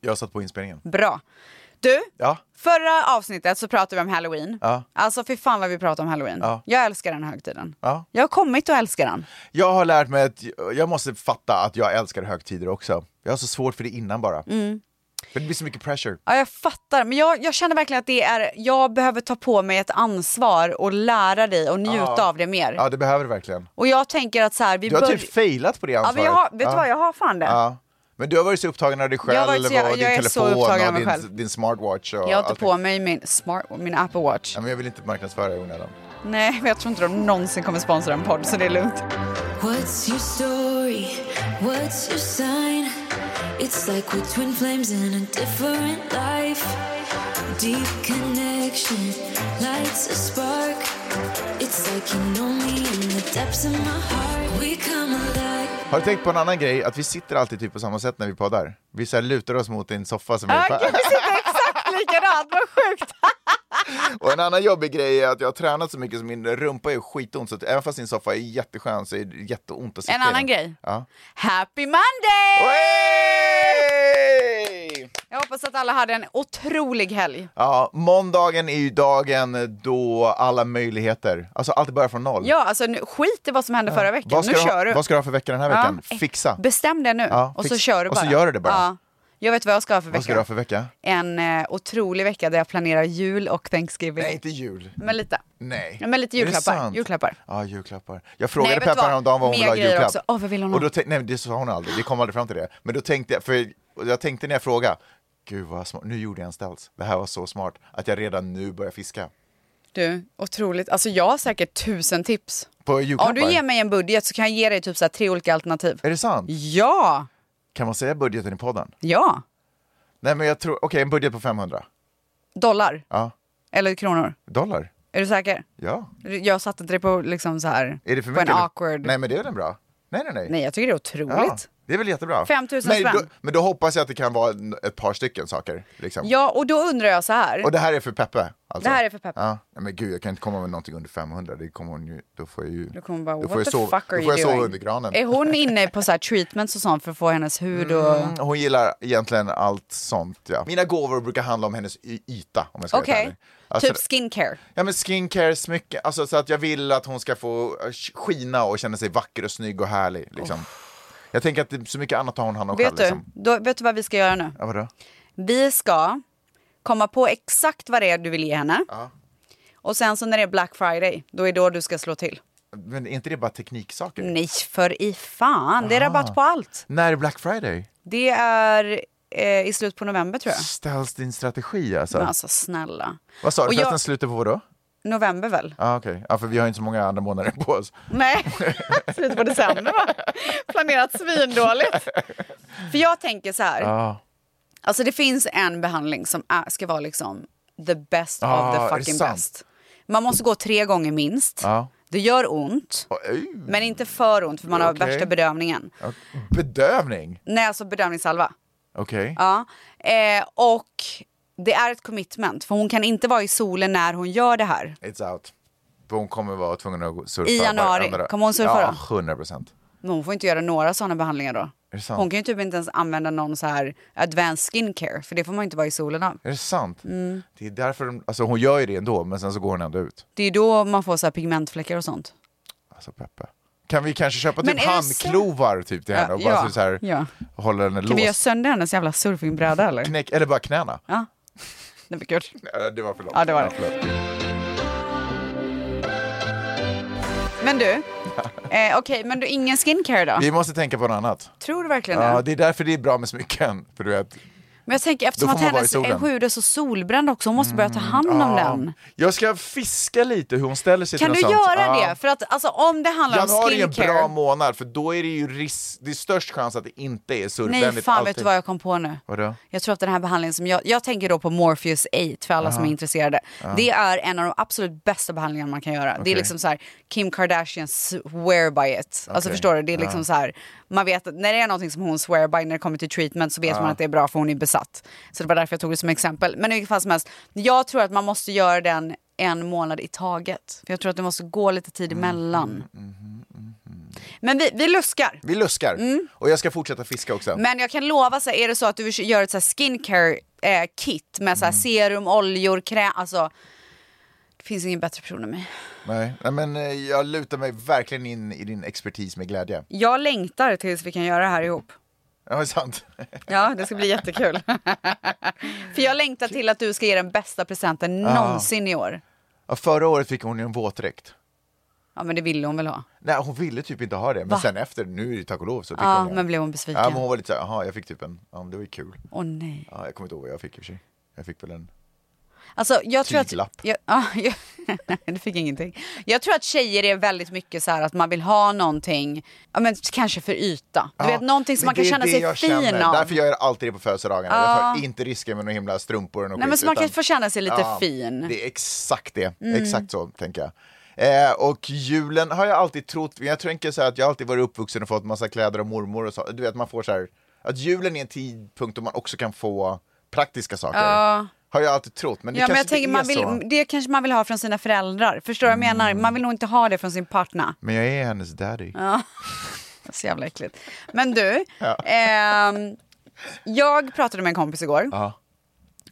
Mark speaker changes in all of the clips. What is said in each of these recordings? Speaker 1: Jag satt på inspelningen.
Speaker 2: Bra. Du,
Speaker 1: Ja,
Speaker 2: förra avsnittet så pratade vi om halloween.
Speaker 1: Ja.
Speaker 2: Alltså fy fan vad vi pratade om halloween.
Speaker 1: Ja.
Speaker 2: Jag älskar den högtiden.
Speaker 1: ja.
Speaker 2: Jag har kommit att älska den.
Speaker 1: Jag har lärt mig att jag måste fatta att jag älskar högtider också. Jag har så svårt för det innan bara.
Speaker 2: Mm.
Speaker 1: För det blir så mycket pressure.
Speaker 2: Ja, jag fattar. Men jag, jag känner verkligen att det är, jag behöver ta på mig ett ansvar och lära dig och njuta
Speaker 1: Ja.
Speaker 2: av det mer.
Speaker 1: Ja, det behöver du verkligen.
Speaker 2: Och jag tänker att så här, vi
Speaker 1: Du har
Speaker 2: bör-
Speaker 1: typ failat på det
Speaker 2: ja,
Speaker 1: ansvaret.
Speaker 2: men jag har, Vet
Speaker 1: Ja.
Speaker 2: du vad, jag har fan det.
Speaker 1: Ja. Men du har varit så upptagen av dig själv
Speaker 2: har varit så- jag-
Speaker 1: och din
Speaker 2: jag är så
Speaker 1: telefon
Speaker 2: upptagen av
Speaker 1: och
Speaker 2: mig
Speaker 1: din,
Speaker 2: själv.
Speaker 1: din smartwatch. Och
Speaker 2: jag har inte
Speaker 1: allt
Speaker 2: på mig min, smart, min Apple Watch.
Speaker 1: Ja, men jag vill inte marknadsföra dig i onödan.
Speaker 2: Nej, men jag tror inte de någonsin kommer sponsra en podd så det är lugnt.
Speaker 3: What's your story? What's your sign? It's like we're twin flames in a different life. Deep connection lights a spark. It's like you know me in the depths of my heart. We come alive.
Speaker 1: Har du tänkt på en annan grej? Att vi sitter alltid typ på samma sätt när vi poddar. Vi så här lutar oss mot en soffa som
Speaker 2: Ah,
Speaker 1: är
Speaker 2: gud, vi sitter exakt likadant, vad sjukt!
Speaker 1: Och en annan jobbig grej är att jag har tränat så mycket så min rumpa är skitont. Så att även fast din soffa är jätteskön så är det jätteont att sitta
Speaker 2: En
Speaker 1: i
Speaker 2: annan
Speaker 1: den.
Speaker 2: grej.
Speaker 1: Ja.
Speaker 2: Happy Monday!
Speaker 1: Oj!
Speaker 2: Jag hoppas att alla hade en otrolig helg.
Speaker 1: Ja, måndagen är ju dagen då alla möjligheter, alltså allt börjar från noll.
Speaker 2: Ja, alltså nu, skit i vad som hände förra veckan.
Speaker 1: Vad
Speaker 2: Nu
Speaker 1: ska, du
Speaker 2: kör
Speaker 1: ha,
Speaker 2: du.
Speaker 1: vad ska du ha för vecka den här veckan?
Speaker 2: Ja.
Speaker 1: Fixa.
Speaker 2: Bestäm det nu
Speaker 1: Ja,
Speaker 2: och så
Speaker 1: fix-
Speaker 2: kör du
Speaker 1: och
Speaker 2: bara.
Speaker 1: så gör du det bara.
Speaker 2: Ja. Jag vet vad jag ska ha för
Speaker 1: Vad ska
Speaker 2: vecka.
Speaker 1: du ha för vecka?
Speaker 2: En eh, otrolig vecka där jag planerar jul och Thanksgiving.
Speaker 1: Nej, inte jul.
Speaker 2: Men lite.
Speaker 1: Nej.
Speaker 2: Ja, men lite
Speaker 1: Är det
Speaker 2: julklappar.
Speaker 1: sant?
Speaker 2: julklappar.
Speaker 1: Ja, julklappar. Jag frågade
Speaker 2: Nej, vet du
Speaker 1: Peppa
Speaker 2: vad?
Speaker 1: häromdagen vad hon
Speaker 2: Mer
Speaker 1: ville ha i
Speaker 2: grejer
Speaker 1: julklapp.
Speaker 2: också. Åh, vad vill hon
Speaker 1: och
Speaker 2: ha?
Speaker 1: då tänk- Nej, det sa hon aldrig. Vi kom aldrig fram till det. Men då tänkte jag, för jag tänkte när jag frågade, gud vad smart, nu gjorde jag en ställs. Det här var så smart att jag redan nu börjar fiska.
Speaker 2: Du, otroligt. Alltså jag har säkert tusen tips.
Speaker 1: På
Speaker 2: Om
Speaker 1: julklappar?
Speaker 2: du ger mig en budget så kan jag ge dig typ så här tre olika alternativ.
Speaker 1: Är det sant?
Speaker 2: Ja,
Speaker 1: Kan man säga budgeten i podden?
Speaker 2: ja.
Speaker 1: Nej, men jag tror, okej, en budget på 500.
Speaker 2: Dollar
Speaker 1: Ja.
Speaker 2: eller kronor.
Speaker 1: Dollar?
Speaker 2: Är du säker?
Speaker 1: Ja.
Speaker 2: Jag satte inte det på liksom så här.
Speaker 1: Är det för
Speaker 2: på
Speaker 1: mycket?
Speaker 2: en
Speaker 1: eller?
Speaker 2: awkward.
Speaker 1: Nej, men det är väl bra? Nej, nej, nej.
Speaker 2: Nej, jag tycker det är otroligt.
Speaker 1: Ja, det är väl jättebra.
Speaker 2: 5 000
Speaker 1: men
Speaker 2: spänn.
Speaker 1: Då, men då hoppas jag att det kan vara n- ett par stycken saker. Liksom.
Speaker 2: Ja, och då undrar jag så här.
Speaker 1: Och det här är för Peppe? Alltså.
Speaker 2: Det här är för Peppe.
Speaker 1: Ja. Ja, men gud, jag kan inte komma med någonting under 500. Det kommer hon ju, då får jag ju...
Speaker 2: Då kommer hon bara,
Speaker 1: då
Speaker 2: what
Speaker 1: får jag
Speaker 2: the
Speaker 1: sova,
Speaker 2: fuck
Speaker 1: då
Speaker 2: are
Speaker 1: får jag
Speaker 2: you
Speaker 1: sova
Speaker 2: doing?
Speaker 1: under granen.
Speaker 2: Är hon inne på så här treatments och sånt för att få hennes hud och...
Speaker 1: Mm, Hon gillar egentligen allt sånt. Ja. Mina gåvor brukar handla om hennes y- yta, om jag ska vara helt
Speaker 2: Okej,
Speaker 1: ärlig. Alltså,
Speaker 2: typ skincare.
Speaker 1: Ja men skincare, smycke, alltså så att jag vill att hon ska få eh, skina och känna sig vacker och snygg och härlig liksom. Jag tänker att det är så mycket annat har hon hand om själv
Speaker 2: Vet du,
Speaker 1: liksom.
Speaker 2: då, vet du vad vi ska göra nu?
Speaker 1: Ja, vadå?
Speaker 2: Vi ska komma på exakt vad det är du vill ge henne. Och sen så när det är Black Friday, då är då du ska slå till.
Speaker 1: Men är inte det bara tekniksaker?
Speaker 2: Nej, för i fan. Det är rabatt
Speaker 1: Ah.
Speaker 2: på allt.
Speaker 1: När är Black Friday?
Speaker 2: Det är eh, i slutet på november tror jag.
Speaker 1: Ställs din strategi alltså?
Speaker 2: Men alltså snälla.
Speaker 1: Vad sa du?
Speaker 2: Och
Speaker 1: Förresten
Speaker 2: jag-
Speaker 1: slutet på vadå?
Speaker 2: November väl?
Speaker 1: Ja ah, okej, ja, för vi har ju inte så många andra månader på oss.
Speaker 2: Nej, slutet på december va? Planerat svindåligt. För jag tänker så här.
Speaker 1: Ja.
Speaker 2: Alltså det finns en behandling som är, ska vara liksom the best
Speaker 1: Ah,
Speaker 2: of
Speaker 1: är det
Speaker 2: the fucking
Speaker 1: sant?
Speaker 2: best. Man måste gå tre gånger minst.
Speaker 1: Ja.
Speaker 2: Det gör ont,
Speaker 1: Och, uh,
Speaker 2: men inte för ont för man har
Speaker 1: Okej.
Speaker 2: värsta bedövningen.
Speaker 1: ja, Bedövning?
Speaker 2: Nej, alltså bedövningssalva.
Speaker 1: Okej.
Speaker 2: Ja. Eh, och det är ett commitment, för hon kan inte vara i solen när hon gör det här.
Speaker 1: It's out. För hon kommer vara tvungen att surfa.
Speaker 2: I januari.
Speaker 1: varenda dag.
Speaker 2: Kommer hon surfa
Speaker 1: Ja,
Speaker 2: då?
Speaker 1: 100 procent.
Speaker 2: Men hon får inte göra några sådana behandlingar då.
Speaker 1: Är det sant?
Speaker 2: Hon kan ju typ inte ens använda någon så här advanced skincare, för det får man ju inte vara i solen av.
Speaker 1: Är det sant?
Speaker 2: Mm.
Speaker 1: Det är därför de, alltså hon gör ju det ändå, men sen så går hon ändå ut.
Speaker 2: Det är ju då man får så här pigmentfläckar och sånt.
Speaker 1: Alltså Peppe. Kan vi kanske köpa
Speaker 2: Men
Speaker 1: typ
Speaker 2: är det så-
Speaker 1: handklovar typ till henne och bara
Speaker 2: ja,
Speaker 1: så här,
Speaker 2: ja.
Speaker 1: hålla henne
Speaker 2: Kan vi göra
Speaker 1: låst?
Speaker 2: sönder hennes jävla surfingbräda eller?
Speaker 1: Knäck, eller bara knäna?
Speaker 2: Ja, det blir kul.
Speaker 1: Eh, Det var för långt.
Speaker 2: Ja, det var det.
Speaker 1: förlåt.
Speaker 2: Men du, eh, okej, men du ingen skincare då?
Speaker 1: Vi måste tänka på något annat.
Speaker 2: Tror du verkligen
Speaker 1: Ja,
Speaker 2: det?
Speaker 1: det är därför det är bra med smycken. För du vet.
Speaker 2: Men jag tänker eftersom
Speaker 1: Då får man
Speaker 2: att
Speaker 1: vara i
Speaker 2: hennes
Speaker 1: solen. Mm,
Speaker 2: eh, hud är så solbränd också, hon måste börja ta hand om
Speaker 1: Ja.
Speaker 2: den.
Speaker 1: Jag ska fiska lite hur hon ställer sig
Speaker 2: Kan du
Speaker 1: till något sånt.
Speaker 2: göra
Speaker 1: Ja.
Speaker 2: det? För att alltså, om det handlar om
Speaker 1: Januari är en
Speaker 2: skincare.
Speaker 1: bra månad för då är det ju risk, det är störst chans att det inte är surfvänligt
Speaker 2: Nej, fan vet du vad jag kom på nu?
Speaker 1: Vadå?
Speaker 2: Jag tror att den här behandlingen som jag, jag tänker då på Morpheus 8 för alla som är intresserade. Det är en av de absolut bästa behandlingarna man kan göra. Det
Speaker 1: Okej.
Speaker 2: är liksom så här Kim Kardashian swear by it. Alltså
Speaker 1: Okej.
Speaker 2: förstår du? Det är liksom så här, man vet att när det är någonting som hon swear by när det kommer till treatment så vet man att det är bra för hon är besatt. Så det var därför jag tog det som exempel. Men i vilket fall som helst, jag tror att man måste göra
Speaker 1: Mm.
Speaker 2: den en månad i taget. För jag tror att det måste gå lite tid emellan. Men vi, vi luskar.
Speaker 1: Vi luskar. Och jag ska fortsätta fiska också.
Speaker 2: Mm. Men jag kan lova, så här, är det så att du vill göra ett så här skincare eh, kit med så här
Speaker 1: Mm.
Speaker 2: serum, oljor, kräm, alltså. Det finns ingen bättre person än mig.
Speaker 1: Nej. Nej, men eh, jag lutar mig verkligen in i din expertis med glädje.
Speaker 2: Jag längtar tills vi kan göra det här ihop.
Speaker 1: Ja, det är sant.
Speaker 2: Ja, det ska bli jättekul. För jag längtar till att du ska ge den bästa presenten någonsin i år.
Speaker 1: Ja, förra året fick hon ju en våtdräkt.
Speaker 2: Ja, men det ville hon väl ha.
Speaker 1: Nej, hon ville typ inte ha det, men sen efter, nu är det tack och lov så fick
Speaker 2: Ja,
Speaker 1: hon det.
Speaker 2: men blev hon
Speaker 1: Ja, men
Speaker 2: besviken?
Speaker 1: hon var lite så här, jaha, jag fick typ en, ja, men det var ju kul.
Speaker 2: Åh nej.
Speaker 1: Ja, jag kommer inte ihåg vad jag fick i och för sig. Jag fick väl en,
Speaker 2: Alltså, jag tror att...
Speaker 1: Tyglapp.
Speaker 2: Jag, ja, jag, du fick ingenting. Jag tror att tjejer är väldigt mycket så här att man vill ha någonting, ja men kanske för yta. Du
Speaker 1: Ja,
Speaker 2: vet någonting
Speaker 1: men
Speaker 2: som man kan
Speaker 1: det är
Speaker 2: känna
Speaker 1: det
Speaker 2: sig
Speaker 1: jag
Speaker 2: fin
Speaker 1: känner.
Speaker 2: av.
Speaker 1: Därför gör jag alltid det på födelsedagarna. Jag tar inte risker med några himla strumpor och
Speaker 2: Nej men
Speaker 1: skit,
Speaker 2: så man kan
Speaker 1: utan-
Speaker 2: få känna sig lite
Speaker 1: Ja,
Speaker 2: fin. Mm.
Speaker 1: Det är exakt det. Exakt så tänker jag. Eh, och julen har jag alltid trott, jag tänker så här att jag har alltid varit uppvuxen och fått massa kläder av mormor och så. Du vet, man får så här, att julen är en tidpunkt då man också kan få praktiska saker. Har jag alltid trott, men det
Speaker 2: Ja, men
Speaker 1: kanske
Speaker 2: jag tänker,
Speaker 1: inte är
Speaker 2: man
Speaker 1: så. Mm.
Speaker 2: vill, det kanske man vill ha från sina föräldrar. Förstår du vad jag menar? Man vill nog inte ha det från sin partner.
Speaker 1: Men jag är hennes daddy.
Speaker 2: Så jävla äckligt. Men du, ehm, jag pratade med en kompis igår
Speaker 1: Ja.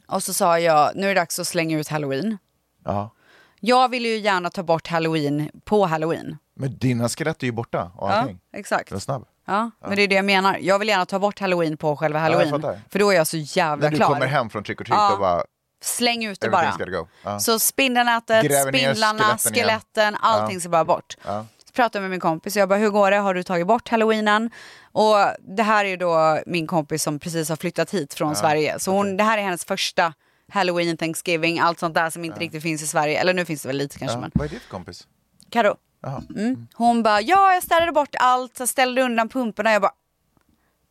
Speaker 2: och så sa jag nu är det dags att slänga ut halloween.
Speaker 1: ja.
Speaker 2: Jag vill ju gärna ta bort halloween på halloween.
Speaker 1: Men dina skelett är ju borta och
Speaker 2: Ja,
Speaker 1: allting.
Speaker 2: exakt.
Speaker 1: Den är snabb.
Speaker 2: Ja, men det är det jag menar. Jag vill gärna ta bort halloween på själva
Speaker 1: jag
Speaker 2: halloween.
Speaker 1: fattar.
Speaker 2: för då är jag så jävla
Speaker 1: När du kommer
Speaker 2: klar.
Speaker 1: hem från trick or treat
Speaker 2: Ja.
Speaker 1: och bara,
Speaker 2: Släng ut det
Speaker 1: everything's
Speaker 2: bara.
Speaker 1: gotta go. Ah. Ja.
Speaker 2: Så spindelnätet,
Speaker 1: Gräver ner
Speaker 2: spindlarna,
Speaker 1: skeletten igen.
Speaker 2: skeletten, allting ska bara bort.
Speaker 1: Ja.
Speaker 2: Så pratade jag med min kompis och jag bara, hur går det? Har du tagit bort halloweenen? Och det här är ju då min kompis som precis har flyttat hit från Sverige. Så hon, det här är hennes första halloween, thanksgiving, allt sånt där som inte riktigt finns i Sverige. Eller nu finns det väl lite kanske men.
Speaker 1: Ja. Ah. Vad är ditt kompis?
Speaker 2: Karo.
Speaker 1: Jaha.
Speaker 2: Mm. Hon bara, ja jag städade bort allt, så ställde undan pumporna. Jag bara,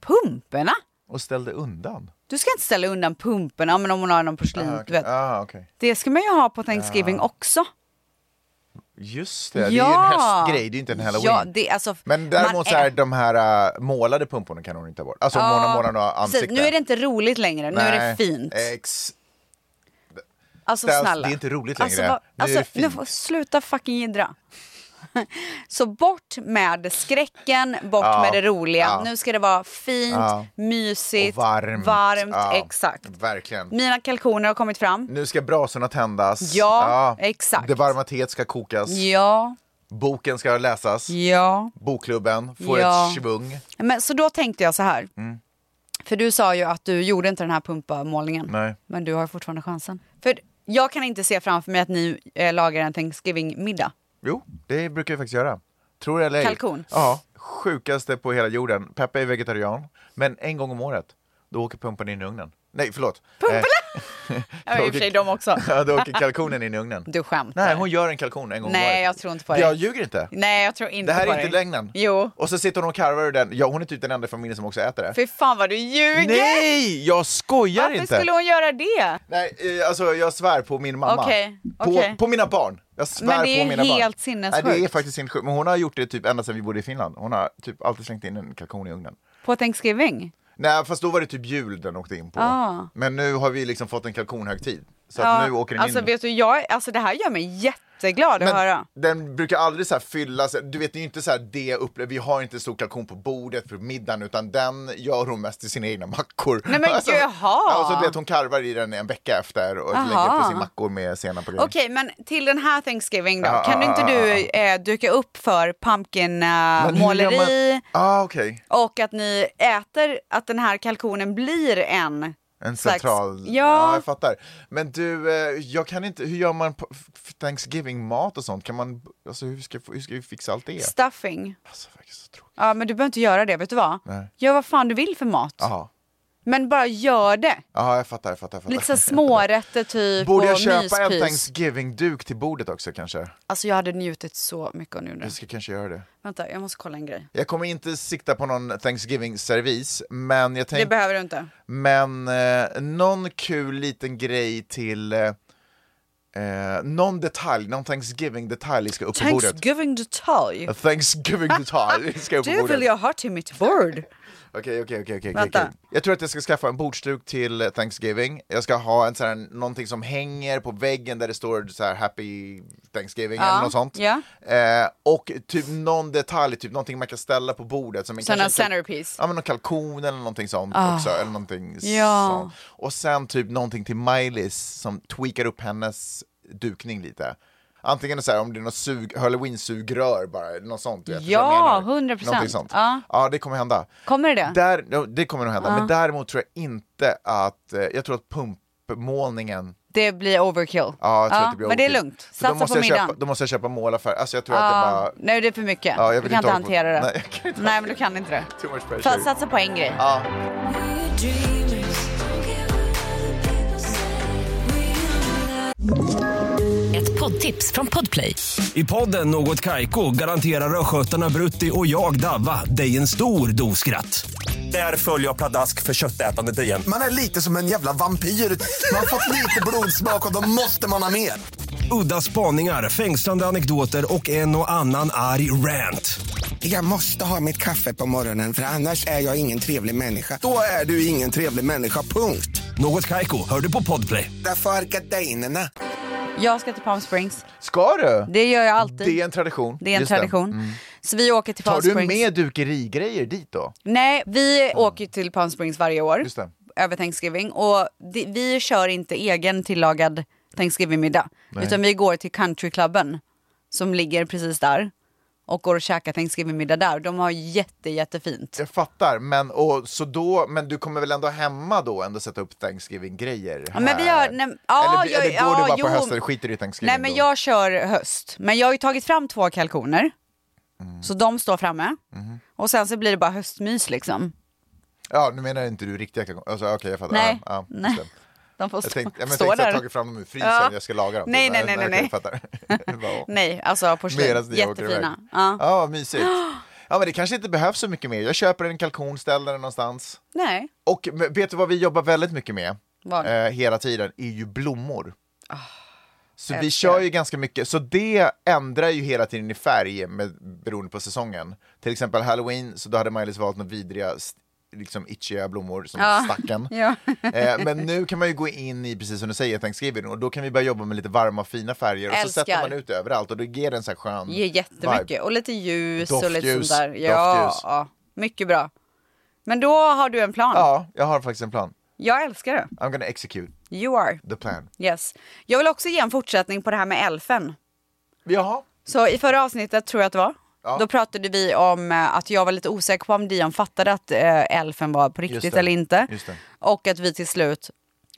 Speaker 2: pumporna?
Speaker 1: Och ställde undan?
Speaker 2: Du ska inte ställa undan pumporna, men om hon har någon porslin,
Speaker 1: Ah,
Speaker 2: Mm, du
Speaker 1: okej.
Speaker 2: vet.
Speaker 1: Ah, okej.
Speaker 2: Det ska man ju ha på Thanksgiving också.
Speaker 1: Just det, det är ju en
Speaker 2: Ja.
Speaker 1: hästgrej, det är ju inte en halloween.
Speaker 2: Ja, det, alltså,
Speaker 1: Men
Speaker 2: man
Speaker 1: däremot så här,
Speaker 2: är-
Speaker 1: de här äh, målade pumporna kan hon inte ta bort. Alltså
Speaker 2: Ja,
Speaker 1: måla måla några
Speaker 2: precis.
Speaker 1: ansikten.
Speaker 2: Nu är det inte roligt längre, nu är det
Speaker 1: Nej, Eh,
Speaker 2: fint.
Speaker 1: Ex,
Speaker 2: Alltså
Speaker 1: Stas,
Speaker 2: snälla.
Speaker 1: det är inte roligt längre.
Speaker 2: Alltså, vad-
Speaker 1: Nu är
Speaker 2: alltså,
Speaker 1: det fint.
Speaker 2: nu får, sluta fucking jiddra. Så bort med skräcken, bort
Speaker 1: Ja,
Speaker 2: med det roliga.
Speaker 1: ja.
Speaker 2: Nu ska det vara fint,
Speaker 1: Ja.
Speaker 2: mysigt,
Speaker 1: och varmt.
Speaker 2: varmt,
Speaker 1: Ja,
Speaker 2: exakt.
Speaker 1: Verkligen.
Speaker 2: Mina kalkoner har kommit fram.
Speaker 1: Nu ska brasorna tändas.
Speaker 2: Ja, exakt.
Speaker 1: Det varma teet ska kokas.
Speaker 2: Ja,
Speaker 1: Boken ska läsas.
Speaker 2: ja.
Speaker 1: Bokklubben får
Speaker 2: Ja.
Speaker 1: ett svung.
Speaker 2: Men, så då tänkte jag så här.
Speaker 1: Mm.
Speaker 2: För du sa ju att du gjorde inte den här pumpamålningen.
Speaker 1: Nej.
Speaker 2: Men du har ju fortfarande chansen. För jag kan inte se framför mig att ni eh, lagar en Thanksgiving-middag.
Speaker 1: Jo, det brukar vi faktiskt göra. Tror det eller ej.
Speaker 2: Kalkon.
Speaker 1: Ja, sjukaste på hela jorden. Peppa är vegetarian, men en gång om året, då åker pumpan in i ugnen. Nej, förlåt. Pumpan?
Speaker 2: Ja, i och för sig de också.
Speaker 1: Ja, då åker kalkonen in i ugnen.
Speaker 2: Du skämtar.
Speaker 1: Nej, hon gör en kalkon en gång om
Speaker 2: Nej,
Speaker 1: året.
Speaker 2: jag tror inte på det.
Speaker 1: Jag ljuger inte.
Speaker 2: Nej, jag tror inte
Speaker 1: Det här
Speaker 2: på
Speaker 1: är inte
Speaker 2: dig.
Speaker 1: lögnen.
Speaker 2: Jo.
Speaker 1: Och så sitter hon och karvar ur den. Ja, hon är typ den enda i familjen som också äter det.
Speaker 2: Fy fan vad du ljuger!
Speaker 1: Nej, jag skojar
Speaker 2: Varför
Speaker 1: inte!
Speaker 2: skulle hon göra det?
Speaker 1: Nej, eh, alltså jag svär på min mamma.
Speaker 2: Okej,
Speaker 1: på,
Speaker 2: okej.
Speaker 1: på mina barn. Jag svär
Speaker 2: Men det är
Speaker 1: på mina barn.
Speaker 2: helt sinnessjukt.
Speaker 1: Nej, det är faktiskt sinnessjukt. Men hon har gjort det typ ända sedan vi bodde i Finland. Hon har typ alltid slängt in en kalkon i ugnen.
Speaker 2: På Thanksgiving?
Speaker 1: Nej, fast då var det typ jul den åkte in på.
Speaker 2: Ah.
Speaker 1: Men nu har vi liksom fått en kalkonhögtid. Så
Speaker 2: Ja,
Speaker 1: att nu åker den
Speaker 2: alltså,
Speaker 1: in.
Speaker 2: vet du, jag, alltså det här gör mig jätteglad att höra.
Speaker 1: den brukar aldrig så här fyllas, du vet det är ju inte så här det jag upplever, vi har inte en stor kalkon på bordet för middagen utan den gör hon mest till sina egna mackor. Alltså,
Speaker 2: Nej, men jaha.
Speaker 1: Ja, så du vet hon karvar i den en vecka efter och
Speaker 2: Jaha.
Speaker 1: lägger på sin mackor med senap och grejer.
Speaker 2: Okej, men till den här Thanksgiving då,
Speaker 1: Ja,
Speaker 2: kan
Speaker 1: ja,
Speaker 2: inte
Speaker 1: ja,
Speaker 2: du
Speaker 1: ja,
Speaker 2: eh, duka upp för
Speaker 1: Men hur gör man-
Speaker 2: pumpkin-måleri
Speaker 1: Ah, okej.
Speaker 2: och att ni äter, att den här kalkonen blir en
Speaker 1: En
Speaker 2: slags-
Speaker 1: central...
Speaker 2: Ja,
Speaker 1: jag fattar. Men du, eh, jag kan inte, hur gör man på- f- Thanksgiving-mat och sånt? Kan man, alltså hur ska, hur ska vi fixa allt det?
Speaker 2: stuffing.
Speaker 1: Alltså, det verkar så tråkigt.
Speaker 2: Ja, men du behöver inte göra det, vet du vad?
Speaker 1: Nej.
Speaker 2: Gör vad fan du vill för mat.
Speaker 1: Ja,
Speaker 2: Men bara gör det.
Speaker 1: ah, jag fattar, jag fattar. Jag fattar.
Speaker 2: Lite så här smårätter typ
Speaker 1: Borde jag
Speaker 2: och
Speaker 1: köpa en
Speaker 2: myspys.
Speaker 1: Thanksgiving-duk till bordet också kanske?
Speaker 2: Alltså jag hade njutit så mycket av nu. nu.
Speaker 1: Jag ska kanske göra det.
Speaker 2: Vänta, jag måste kolla en grej.
Speaker 1: Jag kommer inte sikta på någon Thanksgiving-servis, men jag
Speaker 2: Det
Speaker 1: tänk,
Speaker 2: behöver du inte.
Speaker 1: men eh, någon kul liten grej till eh, eh, någon detalj, någon Thanksgiving-detalj ska upp på bordet.
Speaker 2: Thanksgiving detalj.
Speaker 1: Thanksgiving-detalj ska upp på
Speaker 2: Det
Speaker 1: bordet.
Speaker 2: vill jag ha till mitt bord.
Speaker 1: Okej, okej, okej, okej.
Speaker 2: Vänta.
Speaker 1: okej. Jag tror att jag ska skaffa en bordsduk till eh, Thanksgiving. Jag ska ha en sån här, någonting som hänger på väggen där det står så här Happy Thanksgiving
Speaker 2: Ja,
Speaker 1: eller något sånt.
Speaker 2: ja.
Speaker 1: Eh, och typ någon detalj, typ någonting man kan ställa på bordet. Som en-
Speaker 2: Sån här
Speaker 1: kanske typ- en kal-
Speaker 2: centerpiece.
Speaker 1: Ja men någon kalkon eller någonting sånt också. Eller någonting
Speaker 2: Ah. Ja.
Speaker 1: sånt. Och sen typ någonting till Miley's som tweakar upp hennes dukning lite. Antingen så här, om det är något sug, halloween-sugrör bara, eller något sånt. du Vet,
Speaker 2: Ja,
Speaker 1: vad jag menar.
Speaker 2: 100%.
Speaker 1: Någonting sånt.
Speaker 2: Ja.
Speaker 1: ja, det kommer hända.
Speaker 2: Kommer det?
Speaker 1: Där, ja, det kommer nog hända, men däremot tror jag inte att, eh, jag tror att pumpmålningen
Speaker 2: Det blir overkill.
Speaker 1: Ja, jag tror
Speaker 2: Ja,
Speaker 1: att det blir
Speaker 2: men det är
Speaker 1: overkill.
Speaker 2: lugnt.
Speaker 1: För
Speaker 2: Satsa
Speaker 1: då måste
Speaker 2: på
Speaker 1: jag
Speaker 2: middagen.
Speaker 1: Köpa, då måste jag köpa målarfärg. Alltså jag tror att det
Speaker 2: Ja,
Speaker 1: bara...
Speaker 2: nej det är för mycket.
Speaker 1: Ja, jag
Speaker 2: du
Speaker 1: vill
Speaker 2: kan
Speaker 1: inte
Speaker 2: inte
Speaker 1: hålla på-
Speaker 2: hantera det.
Speaker 1: Nej, jag kan inte
Speaker 2: Nej, men du kan inte det.
Speaker 1: Too much pressure.
Speaker 2: Fa- Satsa på en grej.
Speaker 1: Ja,
Speaker 3: We're dreamers. Don't care what other people say. We are
Speaker 4: Ett poddtips från Podplay.
Speaker 5: I podden Något Kaiko garanterar östgötarna Brutti och jag, Davva, dig en stor dos skratt. Där följer jag pladask för köttätandet igen.
Speaker 6: Man är lite som en jävla vampyr. Man har fått lite blodsmak och då måste man ha mer.
Speaker 5: Udda spaningar, fängslande anekdoter och en och annan arg rant.
Speaker 6: Jag måste ha mitt kaffe på morgonen för annars är jag ingen trevlig människa. Då är du ingen trevlig människa, punkt.
Speaker 5: Något Kaiko, hör du på Podplay.
Speaker 6: Därför är gardinerna.
Speaker 2: Jag ska till Palm Springs.
Speaker 1: ska du?
Speaker 2: Det gör jag alltid.
Speaker 1: Det är en tradition.
Speaker 2: Det är en
Speaker 1: Just
Speaker 2: tradition. Så vi åker till Palm
Speaker 1: Tar du
Speaker 2: Springs.
Speaker 1: med dukerigrejer dit då?
Speaker 2: Nej, vi åker ju till Palm Springs varje år.
Speaker 1: Just det.
Speaker 2: Över Thanksgiving. Och det, vi kör inte egen tillagad Thanksgiving-middag. Utan vi går till countryklubben som ligger precis där. Och går och käkar Thanksgiving-middag där. De har jätte, jättefint.
Speaker 1: Jag fattar, men, och, så då, men du kommer väl ändå hemma då ändå sätta upp Thanksgiving-grejer?
Speaker 2: Ja, men vi har...
Speaker 1: här?
Speaker 2: Nej, ja,
Speaker 1: eller,
Speaker 2: jag-
Speaker 1: eller går
Speaker 2: ja,
Speaker 1: du bara
Speaker 2: jo.
Speaker 1: på hösten, skiter i Thanksgiving
Speaker 2: Nej men
Speaker 1: då?
Speaker 2: jag kör höst. Men jag har ju tagit fram två kalkoner.
Speaker 1: Mm.
Speaker 2: Så de står framme.
Speaker 1: Mm-hmm.
Speaker 2: Och sen så blir det bara höstmys liksom.
Speaker 1: Ja, nu menar inte du riktiga kalkoner, alltså, okej jag fattar.
Speaker 2: Nej.
Speaker 1: Ja, ja,
Speaker 2: Nej.
Speaker 1: just det.
Speaker 2: De får
Speaker 1: Jag
Speaker 2: stå,
Speaker 1: tänkte, ja, men jag
Speaker 2: stå
Speaker 1: tänkte att jag
Speaker 2: där.
Speaker 1: tagit fram dem ur frysen,
Speaker 2: Ja.
Speaker 1: jag ska lagra dem.
Speaker 2: Nej, nej, nej, nej, nej.
Speaker 1: Jag fattar. Bara, åh.
Speaker 2: Nej, alltså porslin.
Speaker 1: Medan ni åker iväg.
Speaker 2: Jättefina. Ja.
Speaker 1: Ja, vad mysigt. Ja, men det kanske inte behövs så mycket mer. Jag köper en kalkon, ställer den någonstans.
Speaker 2: Nej.
Speaker 1: Och men vet du vad vi jobbar väldigt mycket med
Speaker 2: Vad? Ah,
Speaker 1: eh, hela tiden? är ju blommor. så vi
Speaker 2: älskar.
Speaker 1: kör ju ganska mycket, så det ändrar ju hela tiden i färg med, beroende på säsongen. Till exempel halloween, så då hade Miley valt några vidriga, st- liksom itchiga blommor som
Speaker 2: Ja.
Speaker 1: stacken.
Speaker 2: Ja.
Speaker 1: Eh, men nu kan man ju gå in i, precis som du säger, Thanksgiving och då kan vi börja jobba med lite varma fina färger och så
Speaker 2: Älskar.
Speaker 1: sätter man ut det överallt och då ger den så här skön
Speaker 2: Ger jättemycket. Och lite ljus och lite sånt
Speaker 1: Doftljus,
Speaker 2: där. Ja,
Speaker 1: doftljus.
Speaker 2: ja, mycket bra. Men då har du en plan.
Speaker 1: Ja, jag har faktiskt en plan.
Speaker 2: Jag älskar det.
Speaker 1: I'm gonna execute
Speaker 2: You are.
Speaker 1: the plan.
Speaker 2: Yes. Jag vill också ge en fortsättning på det här med elfen.
Speaker 1: Jaha.
Speaker 2: Så i förra avsnittet tror jag att det var.
Speaker 1: Ja.
Speaker 2: Då pratade vi om eh, att jag var lite osäker på om Dion fattade att eh, elfen var på riktigt
Speaker 1: det.
Speaker 2: eller inte.
Speaker 1: Just det.
Speaker 2: Och att vi till slut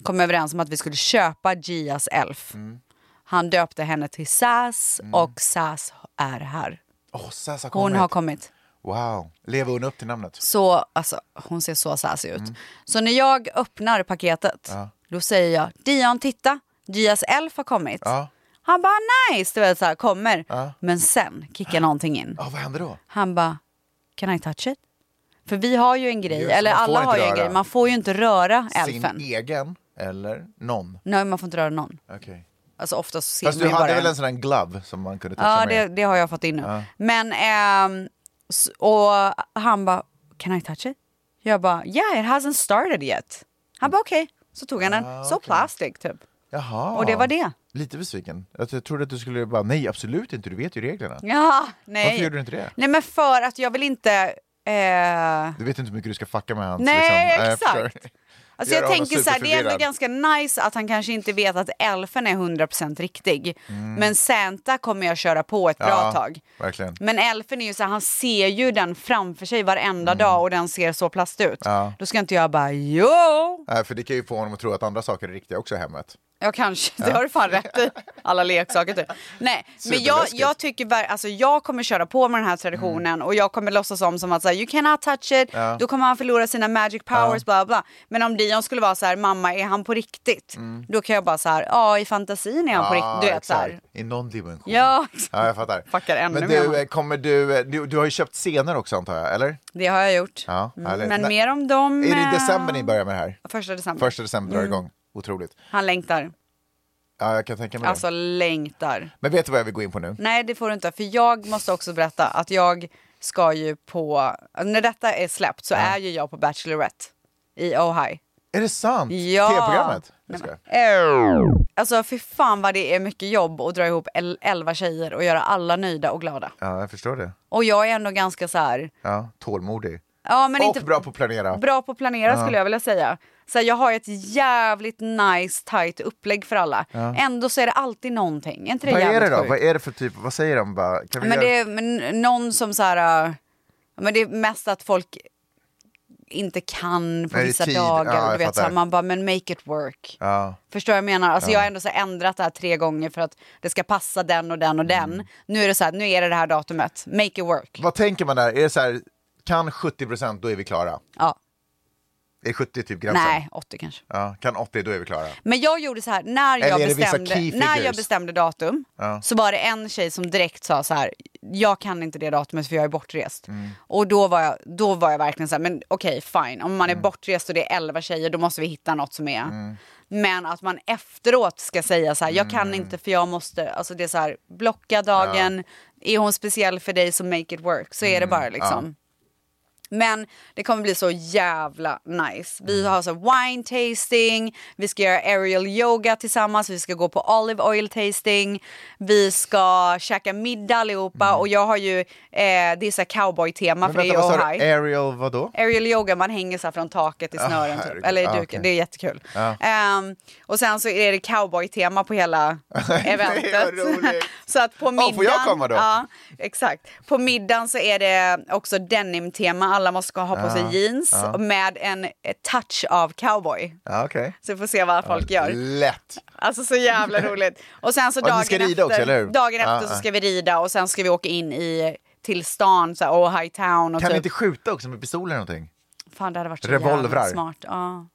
Speaker 2: kom överens om att vi skulle köpa Gias elf.
Speaker 1: Mm.
Speaker 2: Han döpte henne till Sass och Sass är här.
Speaker 1: Åh, oh, Sass har
Speaker 2: Hon
Speaker 1: Mm. kommit.
Speaker 2: har kommit.
Speaker 1: Wow. Lever hon upp till namnet?
Speaker 2: Så, alltså, hon ser så sassig
Speaker 1: Mm.
Speaker 2: ut. Så när jag öppnar paketet, då säger jag Dion titta, Gias elf har kommit.
Speaker 1: Ja.
Speaker 2: Han bara nice, du vet så här, kommer. Men sen kickar någonting in.
Speaker 1: Ja, vad hände då?
Speaker 2: Han bara, can I touch it? För vi har ju en grej,
Speaker 1: Just det,
Speaker 2: eller
Speaker 1: man får
Speaker 2: alla
Speaker 1: inte
Speaker 2: har ju en
Speaker 1: röra.
Speaker 2: grej, man får ju inte röra elfen.
Speaker 1: Sin egen eller någon?
Speaker 2: Nej, man får inte röra någon.
Speaker 1: Okej.
Speaker 2: Alltså oftast ser
Speaker 1: Fast
Speaker 2: man
Speaker 1: du
Speaker 2: ju bara
Speaker 1: hade
Speaker 2: en.
Speaker 1: väl en sån där glove som man kunde toucha
Speaker 2: Ja, det,
Speaker 1: med?
Speaker 2: det har jag fått in nu. Men, ehm, s- och han bara, can I touch it? Jag bara, yeah it hasn't started yet. Han bara okej, så tog han den,
Speaker 1: Ah,
Speaker 2: så plastic typ.
Speaker 1: Jaha.
Speaker 2: Och det var det.
Speaker 1: Lite besviken. Jag jag trodde att du skulle bara, nej absolut inte, du vet ju reglerna.
Speaker 2: Ja, nej.
Speaker 1: Varför gjorde du inte det?
Speaker 2: Nej men för att jag vill inte... Eh,
Speaker 1: Du vet inte hur mycket du ska fucka med hans...
Speaker 2: Nej,
Speaker 1: liksom. Eh,
Speaker 2: exakt.
Speaker 1: förstår.
Speaker 2: Alltså
Speaker 1: Gör
Speaker 2: jag
Speaker 1: honom
Speaker 2: tänker så här, det är ändå
Speaker 1: superförvirrad.
Speaker 2: ganska nice att han kanske inte vet att elfen är 100% riktig. Men Santa kommer jag köra på ett bra
Speaker 1: Mm. Ja,
Speaker 2: tag.
Speaker 1: verkligen.
Speaker 2: Men elfen är ju så här, han ser ju den framför sig varenda dag och den ser så plast ut.
Speaker 1: Mm. Ja.
Speaker 2: Då ska inte jag bara jo!
Speaker 1: Nej, för det kan ju få honom att tro att andra saker är riktiga också i hemmet.
Speaker 2: Jag kanske, det har du fan rätt i. Alla leksaker typ. Nej, men jag,
Speaker 1: Superläskigt. Mm.
Speaker 2: jag tycker ver- alltså jag kommer köra på med den här traditionen och jag kommer låtsas om som att så här, you cannot touch it, då kommer han förlora sina magic powers, bla bla. Men om Dion skulle vara så här, mamma är han på riktigt? Då kan jag bara så här, ja i fantasin är han på riktigt. Du vet så här.
Speaker 1: Mm. exakt. I någon dimension.
Speaker 2: Ja,
Speaker 1: Ja, jag fattar.
Speaker 2: Fuckar ännu
Speaker 1: Men
Speaker 2: mer
Speaker 1: du,
Speaker 2: honom.
Speaker 1: eh, kommer du, eh, du, du har ju köpt scener också antar jag, eller?
Speaker 2: det har jag gjort.
Speaker 1: Ja,
Speaker 2: mm.
Speaker 1: härligt.
Speaker 2: Men
Speaker 1: Nej.
Speaker 2: mer om dem.
Speaker 1: Är det
Speaker 2: eh,
Speaker 1: i december ni börjar med det här?
Speaker 2: Första december.
Speaker 1: Första december
Speaker 2: Mm.
Speaker 1: drar igång. Otroligt.
Speaker 2: Han längtar.
Speaker 1: Ja, jag kan tänka mig det.
Speaker 2: Alltså längtar.
Speaker 1: Men vet du vad jag vill gå in på nu?
Speaker 2: Nej, det får du inte. För jag måste också berätta att jag ska ju på, när detta är släppt så är ju jag på Bachelorette i Ohio.
Speaker 1: Är det sant?
Speaker 2: Ja.
Speaker 1: Tv-programmet?
Speaker 2: Nej,
Speaker 1: Jag skojar.
Speaker 2: men- Alltså fy fan vad det är mycket jobb att dra ihop el- elva tjejer och göra alla nöjda och glada.
Speaker 1: Ja, jag förstår det.
Speaker 2: Och jag är ändå ganska så här,
Speaker 1: Ja, tålmodig.
Speaker 2: ja men
Speaker 1: och
Speaker 2: inte
Speaker 1: bra på att planera.
Speaker 2: bra på att planera skulle jag vilja säga. Så här, jag har ett jävligt nice tight upplägg för alla. Ändå så är det alltid någonting. Är inte det
Speaker 1: Vad är
Speaker 2: jävligt
Speaker 1: det då?
Speaker 2: sjukt?
Speaker 1: Vad är det för typ? Vad säger de bara? Kan vi
Speaker 2: Men
Speaker 1: göra-
Speaker 2: det är men någon som så här, äh, men det är mest att folk inte kan på
Speaker 1: Nej, det är
Speaker 2: vissa
Speaker 1: tid.
Speaker 2: dagar.
Speaker 1: Ja,
Speaker 2: och du
Speaker 1: jag
Speaker 2: vet, så här,
Speaker 1: fattar.
Speaker 2: man bara, men make it work.
Speaker 1: Ja.
Speaker 2: Förstår vad jag menar? Alltså jag har ändå så här ändrat det här tre gånger för att det ska passa den och den och
Speaker 1: Mm.
Speaker 2: den. Nu är det så här, nu är det det här datumet. Make it work.
Speaker 1: Vad tänker man där? Är det så här, kan 70 procent, då är vi klara.
Speaker 2: Ja.
Speaker 1: Är 70 typ gränsen?
Speaker 2: Nej, 80 kanske.
Speaker 1: Ja, kan 80, då är vi klara.
Speaker 2: Men jag gjorde så här, när
Speaker 1: Eller
Speaker 2: jag,
Speaker 1: är det vissa
Speaker 2: bestämde,
Speaker 1: key
Speaker 2: när jag
Speaker 1: figures?
Speaker 2: bestämde datum så var det en tjej som direkt sa så här, jag kan inte det datumet för jag är bortrest.
Speaker 1: Mm.
Speaker 2: Och då var jag, då var jag verkligen så här, men okej fine, om
Speaker 1: Mm.
Speaker 2: man är bortrest och det är 11 tjejer då måste vi hitta något som är. Men att man efteråt ska säga så här, jag kan
Speaker 1: Mm.
Speaker 2: inte för jag måste, alltså det är så här, blocka dagen, är hon speciell för dig så make it work, så
Speaker 1: Mm.
Speaker 2: är det bara liksom. Men det kommer bli så jävla nice. Vi
Speaker 1: Mm.
Speaker 2: har så wine tasting, vi ska göra aerial yoga tillsammans, vi ska gå på olive oil tasting, vi ska käka middag allihopa och jag har ju, eh, det är så här cowboy-tema
Speaker 1: Mm. Men
Speaker 2: för det är
Speaker 1: vänta, vad sa du?
Speaker 2: Ohio.
Speaker 1: Ariel vadå?
Speaker 2: Aerial yoga, man hänger så här från taket i snören typ.
Speaker 1: herregud.
Speaker 2: Eller i
Speaker 1: Ah,
Speaker 2: duken,
Speaker 1: okej. Ah.
Speaker 2: det är jättekul.
Speaker 1: Ja.
Speaker 2: Ehm, och sen så är det cowboy-tema på hela eventet.
Speaker 1: roligt. Ah,
Speaker 2: så att på middagen...
Speaker 1: får jag komma då?
Speaker 2: Ja, exakt. På middagen så är det också denim-tema, alla måste ska ha på
Speaker 1: Ah,
Speaker 2: sig jeans med en eh, touch av cowboy.
Speaker 1: Ja, okej.
Speaker 2: Så vi får se vad folk gör.
Speaker 1: Lätt.
Speaker 2: Alltså så jävla roligt. Och sen så
Speaker 1: Ah, Och ni
Speaker 2: dagen
Speaker 1: ska
Speaker 2: efter,
Speaker 1: rida också, eller hur? Ah,
Speaker 2: dagen efter
Speaker 1: Ja,
Speaker 2: så
Speaker 1: ja.
Speaker 2: ska vi rida och sen ska vi åka in i till stan, så här, Ohio Town och
Speaker 1: Kan
Speaker 2: typ.
Speaker 1: vi inte skjuta också med pistol eller någonting?
Speaker 2: Fan, det hade varit så
Speaker 1: Revolvrar.
Speaker 2: jävla smart. Ja.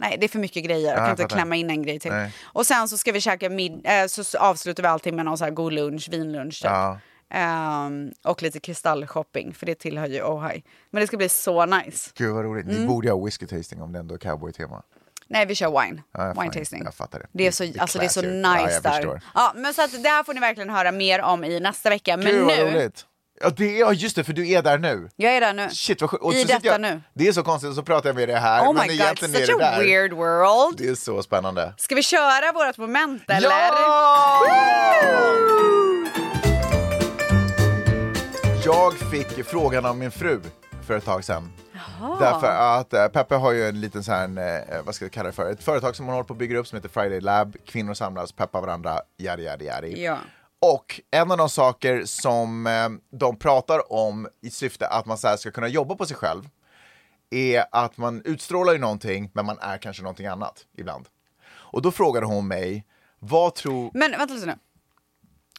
Speaker 2: Nej, det är för mycket grejer. Jag kan
Speaker 1: jag
Speaker 2: inte
Speaker 1: fattar.
Speaker 2: klämma in en grej till.
Speaker 1: Nej.
Speaker 2: Och sen så ska vi käka mid- eh, så s- avslutar vi allting med någon så här god lunch, vinlunch typ.
Speaker 1: Ja.
Speaker 2: Ehm, och lite kristallshopping, för det tillhör ju Ohio. Men det ska bli så nice.
Speaker 1: Gud vad roligt.
Speaker 2: Mm.
Speaker 1: Ni borde ha whisky tasting om det ändå är cowboy-tema.
Speaker 2: Nej, vi kör wine.
Speaker 1: Ja, jag
Speaker 2: wine
Speaker 1: fan-
Speaker 2: tasting.
Speaker 1: jag fattar det.
Speaker 2: Det är så,
Speaker 1: Det är
Speaker 2: alltså, det är så
Speaker 1: classy.
Speaker 2: nice
Speaker 1: Ja, jag
Speaker 2: där.
Speaker 1: förstår.
Speaker 2: Ja, men så att det här får ni verkligen höra mer om i nästa vecka. Men
Speaker 1: Gud vad
Speaker 2: nu,
Speaker 1: roligt. Ja, det, ja, just det, för du är där nu.
Speaker 2: jag är där nu.
Speaker 1: Shit vad sjukt. Och
Speaker 2: I
Speaker 1: så sitter
Speaker 2: detta
Speaker 1: jag-
Speaker 2: nu.
Speaker 1: Det är så konstigt, så pratar jag med dig här.
Speaker 2: Oh
Speaker 1: men
Speaker 2: my god,
Speaker 1: egentligen
Speaker 2: such
Speaker 1: är det
Speaker 2: a
Speaker 1: där.
Speaker 2: weird world.
Speaker 1: Det är så spännande.
Speaker 2: Ska vi köra vårt moment eller?
Speaker 1: Jag fick frågan av min fru för ett tag sedan. Därför att eh, Peppe har ju en liten så här, eh, vad ska jag kalla det för, ett företag som hon håller på att bygga upp som heter Friday Lab. Kvinnor samlas, peppar varandra, yadi yadi yadi.
Speaker 2: Ja.
Speaker 1: Och en av de saker som eh, de pratar om i syfte att man så här ska kunna jobba på sig själv är att man utstrålar ju någonting men man är kanske någonting annat ibland. Och då frågade hon mig, vad tror...
Speaker 2: Men vänta lite nu.